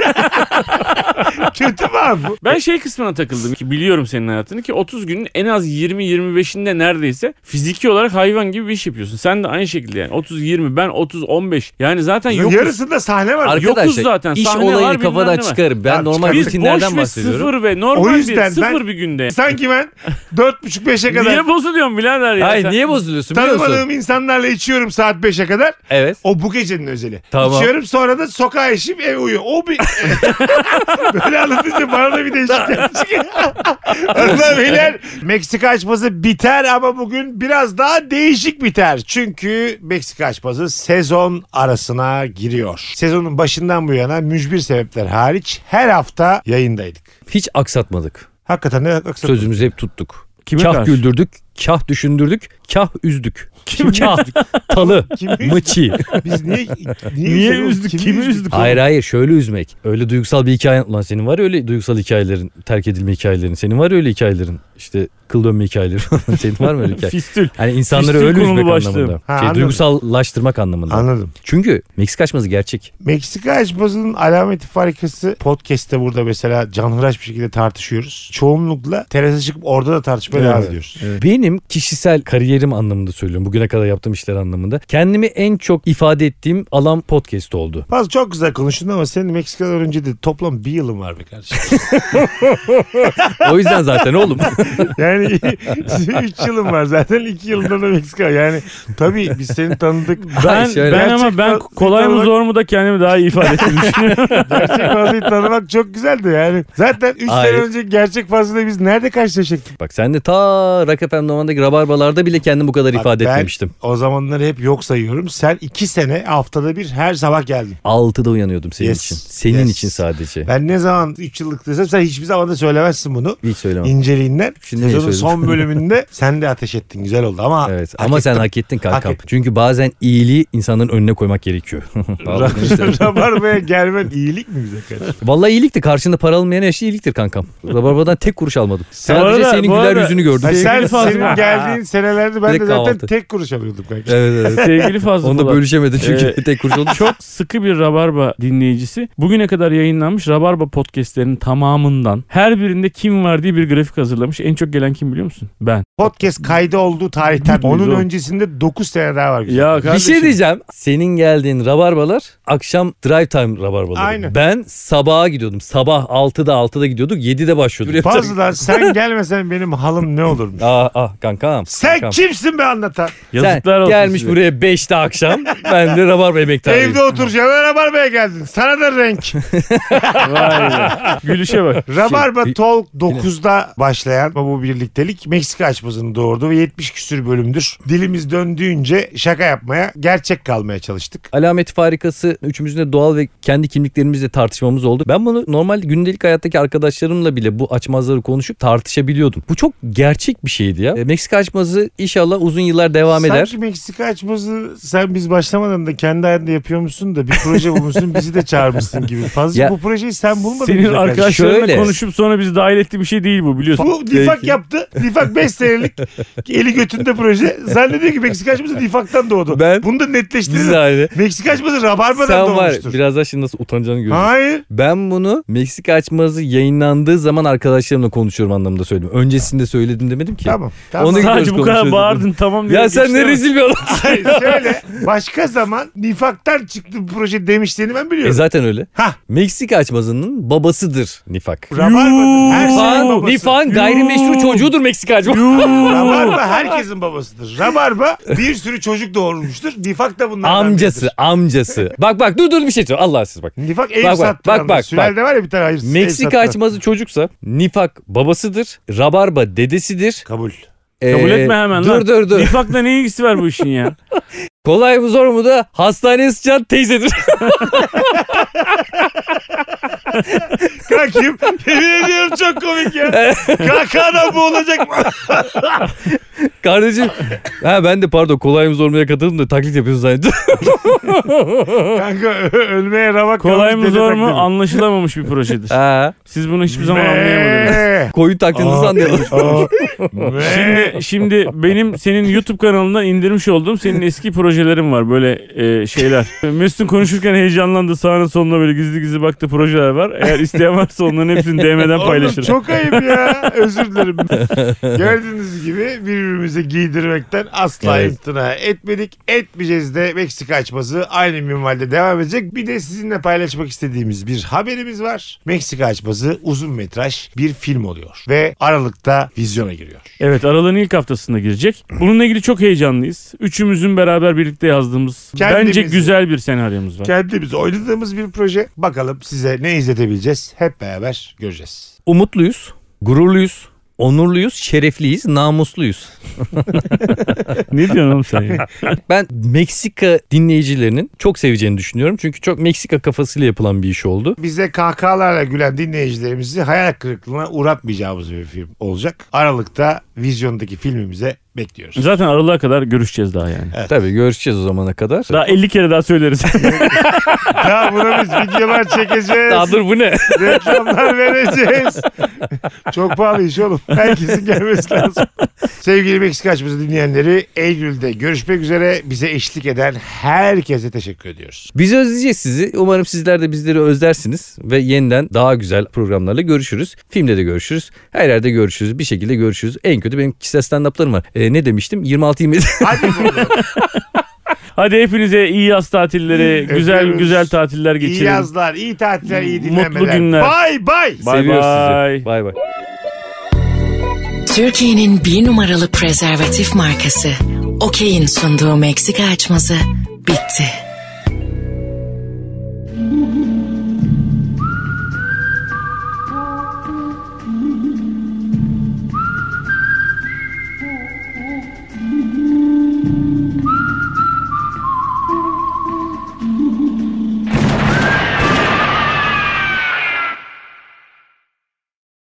[SPEAKER 2] Kötü mü abi? bu?
[SPEAKER 3] Ben şey kısmına takıldım ki biliyorum senin hayatını ki 30 günün en az 20-25'inde neredeyse fiziki olarak hayvan gibi bir iş yapıyorsun. Sen de aynı şekilde yani 30-20 ben 30-15 yani zaten yokuz.
[SPEAKER 2] Yarısında sahne var.
[SPEAKER 3] Ar-
[SPEAKER 4] Arkadaşlar
[SPEAKER 3] zaten,
[SPEAKER 4] iş
[SPEAKER 3] sahne var,
[SPEAKER 4] olayını
[SPEAKER 3] bilmem
[SPEAKER 4] kafadan
[SPEAKER 3] ne var.
[SPEAKER 4] çıkarıp
[SPEAKER 2] Ya
[SPEAKER 4] ben normal
[SPEAKER 2] çıkar.
[SPEAKER 3] Biz boş
[SPEAKER 4] rutinlerden
[SPEAKER 3] ve
[SPEAKER 4] bahsediyorum.
[SPEAKER 3] sıfır ve normal
[SPEAKER 2] O yüzden
[SPEAKER 3] bir sıfır
[SPEAKER 2] ben-
[SPEAKER 3] bir günde.
[SPEAKER 2] Sanki ben dört buçuk beşe kadar
[SPEAKER 3] Niye bozuluyorsun birader ya?
[SPEAKER 4] Hayır
[SPEAKER 3] sen?
[SPEAKER 4] niye bozuluyorsun biliyor musun?
[SPEAKER 2] tanımadığım insanlarla içiyorum saat 5'e kadar.
[SPEAKER 4] Evet.
[SPEAKER 2] O bu gecenin özeli.
[SPEAKER 4] Tamam.
[SPEAKER 2] İçiyorum sonra da sokağa işim ev uyu. O bir... Böyle anlatınca bana da bir değişiklik çıkıyor. Hanımlar, beyler Meksika açması biter ama bugün biraz daha değişik biter. Çünkü Meksika açması sezon arasına giriyor. Sezonun başından bu yana mücbir sebepler hariç her hafta yayındaydık.
[SPEAKER 4] Hiç aksatmadık.
[SPEAKER 2] Hakikaten ne aksatmadık.
[SPEAKER 4] Sözümüzü hep tuttuk.
[SPEAKER 3] Kime
[SPEAKER 4] kah
[SPEAKER 3] karşı?
[SPEAKER 4] güldürdük, kah düşündürdük, kah üzdük. Kim kah? Talı,
[SPEAKER 2] Kimi-
[SPEAKER 4] mıçı.
[SPEAKER 2] Biz niye, niye,
[SPEAKER 3] Niye
[SPEAKER 2] üzelim?
[SPEAKER 3] üzdük? Kimi üzdük?
[SPEAKER 4] Hayır hayır şöyle üzmek. Öyle duygusal bir hikaye lan senin var ya öyle duygusal hikayelerin, terk edilme hikayelerin. Senin var ya öyle hikayelerin. İşte kıl dönme hikayelerin. senin var mı öyle hikaye?
[SPEAKER 3] Fistül.
[SPEAKER 4] Hani insanları
[SPEAKER 3] Fistül
[SPEAKER 4] öyle
[SPEAKER 3] konulu
[SPEAKER 4] üzmek
[SPEAKER 3] başlığım.
[SPEAKER 4] anlamında.
[SPEAKER 2] Ha,
[SPEAKER 4] şey,
[SPEAKER 2] anladım.
[SPEAKER 4] duygusallaştırmak anlamında.
[SPEAKER 2] Anladım.
[SPEAKER 4] Çünkü Meksika açması gerçek.
[SPEAKER 2] Meksika açmasının alameti farikası podcast'te burada mesela canhıraş bir şekilde tartışıyoruz. Çoğunlukla terasa çıkıp orada da tartışmaya devam ediyoruz.
[SPEAKER 4] Benim kişisel kariyerim anlamında söylüyorum. Bugüne kadar yaptığım işler anlamında. Kendimi en çok ifade ettiğim alan podcast oldu.
[SPEAKER 2] Fazla çok güzel konuştun ama senin Meksika'dan önce de toplam bir yılın var be kardeşim.
[SPEAKER 4] O yüzden zaten oğlum.
[SPEAKER 2] Yani 3 yılın var zaten 2 yılında da Meksika. Yani tabii biz seni tanıdık.
[SPEAKER 4] Ben
[SPEAKER 3] Ben,
[SPEAKER 4] şöyle-
[SPEAKER 3] ben ama
[SPEAKER 2] Gerçekten
[SPEAKER 3] ben kolay
[SPEAKER 2] olarak-
[SPEAKER 3] mı zor mu da kendimi daha iyi ifade ettim.
[SPEAKER 2] Gerçek fazlayı tanımak çok güzeldi yani. Zaten 3 sene
[SPEAKER 4] Hayır.
[SPEAKER 2] önce gerçek fazlayla biz nerede karşılaşacaktık?
[SPEAKER 4] Bak sen de ta Rock FM Numan'daki rabarbalarda bile kendimi bu kadar ifade
[SPEAKER 2] Bak ben
[SPEAKER 4] etmemiştim.
[SPEAKER 2] O zamanları hep yok sayıyorum. Sen 2 sene haftada bir her sabah geldin.
[SPEAKER 4] 6'da uyanıyordum senin
[SPEAKER 2] Yes,
[SPEAKER 4] için. Senin
[SPEAKER 2] yes.
[SPEAKER 4] için sadece.
[SPEAKER 2] Ben ne zaman 3 yıllık desem sen hiçbir zaman da söylemezsin bunu.
[SPEAKER 4] Hiç söylemem.
[SPEAKER 2] inceliğinden
[SPEAKER 4] Şimdi
[SPEAKER 2] sezonun
[SPEAKER 4] söyledim.
[SPEAKER 2] son bölümünde sen de ateş ettin güzel oldu ama
[SPEAKER 4] Evet ama sen hak ettin kankam.
[SPEAKER 2] Hak ettim.
[SPEAKER 4] Çünkü bazen iyiliği insanların önüne koymak gerekiyor. Vallahi neyse.
[SPEAKER 2] Rabarba'ya gelmen iyilik mi bize karşı?
[SPEAKER 4] Vallahi iyilikti. Karşında para almayan eşi iyiliktir kankam. Rabarbadan tek kuruş almadım. Sadece
[SPEAKER 3] arada-
[SPEAKER 4] senin
[SPEAKER 3] bu
[SPEAKER 4] güler
[SPEAKER 3] arada-
[SPEAKER 4] yüzünü gördüm.
[SPEAKER 2] Ha,
[SPEAKER 3] Sevgili
[SPEAKER 2] sen
[SPEAKER 3] Fazlı.
[SPEAKER 2] senin geldiğin senelerde
[SPEAKER 4] Bir
[SPEAKER 2] ben
[SPEAKER 4] de
[SPEAKER 2] de zaten
[SPEAKER 4] kahvaltı.
[SPEAKER 2] tek kuruş alıyordum kanka.
[SPEAKER 4] Evet evet.
[SPEAKER 3] Sevgili Fazlı
[SPEAKER 4] Onu da
[SPEAKER 3] Polat.
[SPEAKER 4] bölüşemedim çünkü
[SPEAKER 3] Ee,
[SPEAKER 4] tek kuruş oldu.
[SPEAKER 3] Çok sıkı bir Rabarba dinleyicisi. Bugüne kadar yayınlanmış Rabarba podcastlerinin tamamından her birinde kim var diye bir grafik hazırlamış. En çok gelen kim biliyor musun? Ben.
[SPEAKER 2] Podcast kaydı olduğu tarihten
[SPEAKER 3] Biz
[SPEAKER 2] onun
[SPEAKER 3] oğlum.
[SPEAKER 2] öncesinde 9 sene daha var. güzel.
[SPEAKER 4] Bir şey diyeceğim. Senin geldiğin rabarbalar akşam drive time rabarbaları.
[SPEAKER 2] Aynen.
[SPEAKER 4] Ben sabaha gidiyordum. Sabah 6'da 6'da gidiyorduk. 7'de başlıyorduk.
[SPEAKER 2] Fazladan sen gelmesen benim halim ne olurmuş?
[SPEAKER 4] Aa, ah kankam.
[SPEAKER 2] Sen
[SPEAKER 4] kankam.
[SPEAKER 2] kimsin be anlatan?
[SPEAKER 3] Yazıklar
[SPEAKER 4] Sen
[SPEAKER 3] olsun
[SPEAKER 4] gelmiş
[SPEAKER 3] size.
[SPEAKER 4] buraya 5'te akşam. ben de rabarba emektarıyım.
[SPEAKER 2] Evde oturacağım. Rabarba'ya geldin. Sana da renk.
[SPEAKER 3] Vay be. Gülüşe bak.
[SPEAKER 2] Rabarba
[SPEAKER 4] bir-
[SPEAKER 2] Talk 9'da başlayan bu birliktelik Meksika açmasını doğurdu ve 70 küsür bölümdür. Dilimiz döndüğünce şaka yapmaya, gerçek kalmaya çalıştık.
[SPEAKER 4] Alamet farikası üçümüzün de doğal ve kendi kimliklerimizle tartışmamız oldu. Ben bunu normal gündelik hayattaki arkadaşlarımla bile bu açmazları konuşup tartışabiliyordum. Bu çok gerçek bir şeydi ya. E, Meksika açmazı inşallah uzun yıllar devam
[SPEAKER 2] Sanki
[SPEAKER 4] eder.
[SPEAKER 2] Meksika açması sen biz başlamadan da kendi hayatında yapıyormuşsun da bir proje bulmuşsun bizi de çağırmışsın gibi. Fazla
[SPEAKER 4] Ya-
[SPEAKER 2] bu projeyi sen bulmadın.
[SPEAKER 3] Senin
[SPEAKER 2] bize karşı.
[SPEAKER 3] arkadaşlarınla
[SPEAKER 4] Şöyle.
[SPEAKER 3] konuşup sonra bizi dahil ettiği bir şey değil bu biliyorsun.
[SPEAKER 2] Bu Difak yaptı. Difak 5 senelik eli götünde proje. Zannediyor ki Meksika açması Difak'tan doğdu.
[SPEAKER 4] Ben-
[SPEAKER 2] Bunu da
[SPEAKER 4] Biz
[SPEAKER 2] netleştirelim.
[SPEAKER 4] aynı.
[SPEAKER 2] Meksika açması Rabarba'dan
[SPEAKER 4] Sen var
[SPEAKER 2] doğmuştur.
[SPEAKER 4] biraz daha şimdi nasıl utanacağını görüyorsun.
[SPEAKER 2] Hayır.
[SPEAKER 4] Ben bunu Meksika açmazı yayınlandığı zaman arkadaşlarımla konuşuyorum anlamında söyledim. Öncesinde söyledim demedim ki.
[SPEAKER 2] Tamam. Tamam.
[SPEAKER 4] Onu
[SPEAKER 3] Sadece
[SPEAKER 4] göz
[SPEAKER 3] bu kadar
[SPEAKER 4] konuşuyoruz.
[SPEAKER 3] bağırdın tamam diye.
[SPEAKER 4] Ya sen ne
[SPEAKER 3] geçti
[SPEAKER 4] rezil bir adamsın.
[SPEAKER 2] Hayır, Şöyle başka zaman nifaktan çıktı bu proje demişlerini ben
[SPEAKER 4] E
[SPEAKER 2] biliyorum.
[SPEAKER 4] zaten öyle.
[SPEAKER 2] Hah.
[SPEAKER 4] Meksika açmazının babasıdır nifak.
[SPEAKER 2] Rabarba her şeyin
[SPEAKER 4] Nifak'ın
[SPEAKER 2] babası.
[SPEAKER 4] Nifak'ın gayrimeşru çocuğudur Meksika açmaz.
[SPEAKER 2] Rabarba herkesin babasıdır. Rabarba bir sürü çocuk doğurmuştur. Nifak da bunlardan
[SPEAKER 4] Amcası,
[SPEAKER 2] biridir.
[SPEAKER 4] amcası. Bak bak dur dur bir şey söyle. Allah siz bak.
[SPEAKER 2] Nifak ev
[SPEAKER 4] Bak, bak,
[SPEAKER 2] sattıranlar.
[SPEAKER 4] bak, bak,
[SPEAKER 2] Sülale'de var ya bir tane
[SPEAKER 3] Şey
[SPEAKER 2] hayırsız ev
[SPEAKER 4] Meksika
[SPEAKER 2] sattıran.
[SPEAKER 4] açmazı çocuksa Nifak babasıdır, Rabarba dedesidir.
[SPEAKER 2] Kabul.
[SPEAKER 3] Kabul
[SPEAKER 4] Ee,
[SPEAKER 3] etme hemen
[SPEAKER 4] dur,
[SPEAKER 3] lan.
[SPEAKER 4] Dur dur
[SPEAKER 3] Nifakla ne ilgisi var bu işin ya?
[SPEAKER 4] Kolay mı zor mu da hastaneye sıçan teyzedir.
[SPEAKER 2] Kankim yemin ediyorum çok komik ya. Kakadan bu olacak mı?
[SPEAKER 4] Kardeşim ha ben de pardon kolay mı zor mu'ya katıldım da taklit yapıyorsun zannettim.
[SPEAKER 2] Kanka ö- ölmeye ramak
[SPEAKER 3] Kolay
[SPEAKER 2] kalmış
[SPEAKER 3] mı zor
[SPEAKER 2] dede
[SPEAKER 3] mu
[SPEAKER 2] taklidi.
[SPEAKER 3] anlaşılamamış bir projedir.
[SPEAKER 4] ha,
[SPEAKER 3] Siz bunu hiçbir zaman
[SPEAKER 2] Me-
[SPEAKER 3] anlayamadınız.
[SPEAKER 4] koyun taklidini
[SPEAKER 2] Aa.
[SPEAKER 4] sanıyorlar.
[SPEAKER 2] Aa, me-
[SPEAKER 3] Şimdi, şimdi benim senin YouTube kanalından indirmiş olduğum senin eski projelerim var böyle e, şeyler. Mesut'un konuşurken heyecanlandı sağına soluna böyle gizli gizli baktı projeler var. Eğer isteyen varsa onların hepsini DM'den
[SPEAKER 2] Oğlum
[SPEAKER 3] paylaşırım.
[SPEAKER 2] Çok ayıp ya. Özür dilerim. Gördüğünüz gibi birbirimize giydirmekten asla
[SPEAKER 4] Evet.
[SPEAKER 2] imtina etmedik. Etmeyeceğiz de Meksika açması aynı minvalde devam edecek. Bir de sizinle paylaşmak istediğimiz bir haberimiz var. Meksika açması uzun metraj bir film oluyor ve Aralık'ta vizyona giriyor.
[SPEAKER 3] Evet Aralık'ın ilk haftasında girecek. Bununla ilgili çok heyecanlıyız. Üçümüzün beraber birlikte yazdığımız
[SPEAKER 2] Kendimizi-
[SPEAKER 3] bence güzel bir senaryomuz var.
[SPEAKER 2] Kendimiz oynadığımız bir proje. Bakalım size ne izletebileceğiz. Hep beraber göreceğiz.
[SPEAKER 4] Umutluyuz, gururluyuz, onurluyuz, şerefliyiz, namusluyuz.
[SPEAKER 3] ne diyorsun oğlum sen ya?
[SPEAKER 4] Ben Meksika dinleyicilerinin çok seveceğini düşünüyorum. Çünkü çok Meksika kafasıyla yapılan bir iş oldu.
[SPEAKER 2] Bize kahkahalarla gülen dinleyicilerimizi hayal kırıklığına uğratmayacağımız bir film olacak. Aralık'ta vizyondaki filmimize bekliyoruz.
[SPEAKER 3] Zaten Aralık'a kadar görüşeceğiz daha yani.
[SPEAKER 4] Tabii görüşeceğiz o zamana kadar.
[SPEAKER 3] Daha 50 kere daha söyleriz.
[SPEAKER 2] Daha buna biz videolar çekeceğiz.
[SPEAKER 4] Daha dur bu ne?
[SPEAKER 2] Reklamlar vereceğiz. Çok pahalı iş oğlum. Herkesin gelmesi lazım. Sevgili Meksika açması dinleyenleri Eylül'de görüşmek üzere. Bize eşlik eden herkese teşekkür ediyoruz.
[SPEAKER 4] Biz özleyeceğiz sizi. Umarım sizler de bizleri özlersiniz ve yeniden daha güzel programlarla görüşürüz. Filmde de görüşürüz. Her yerde görüşürüz. Bir şekilde görüşürüz. En kötü benim kişisel stand-up'larım var. E, ne demiştim? 26-27.
[SPEAKER 2] Hadi buradan.
[SPEAKER 3] Hadi hepinize iyi yaz tatilleri, güzel
[SPEAKER 2] Öpüyoruz.
[SPEAKER 3] güzel tatiller
[SPEAKER 2] iyi
[SPEAKER 3] geçirin.
[SPEAKER 2] yazlar, iyi tatiller, iyi
[SPEAKER 3] Mutlu
[SPEAKER 2] dinlemeler.
[SPEAKER 3] günler.
[SPEAKER 2] Bay bay.
[SPEAKER 3] Bay
[SPEAKER 4] Seviyoruz
[SPEAKER 3] bay.
[SPEAKER 4] sizi. Bay bay.
[SPEAKER 1] Türkiye'nin bir numaralı prezervatif markası Okey'in sunduğu Meksika açması bitti.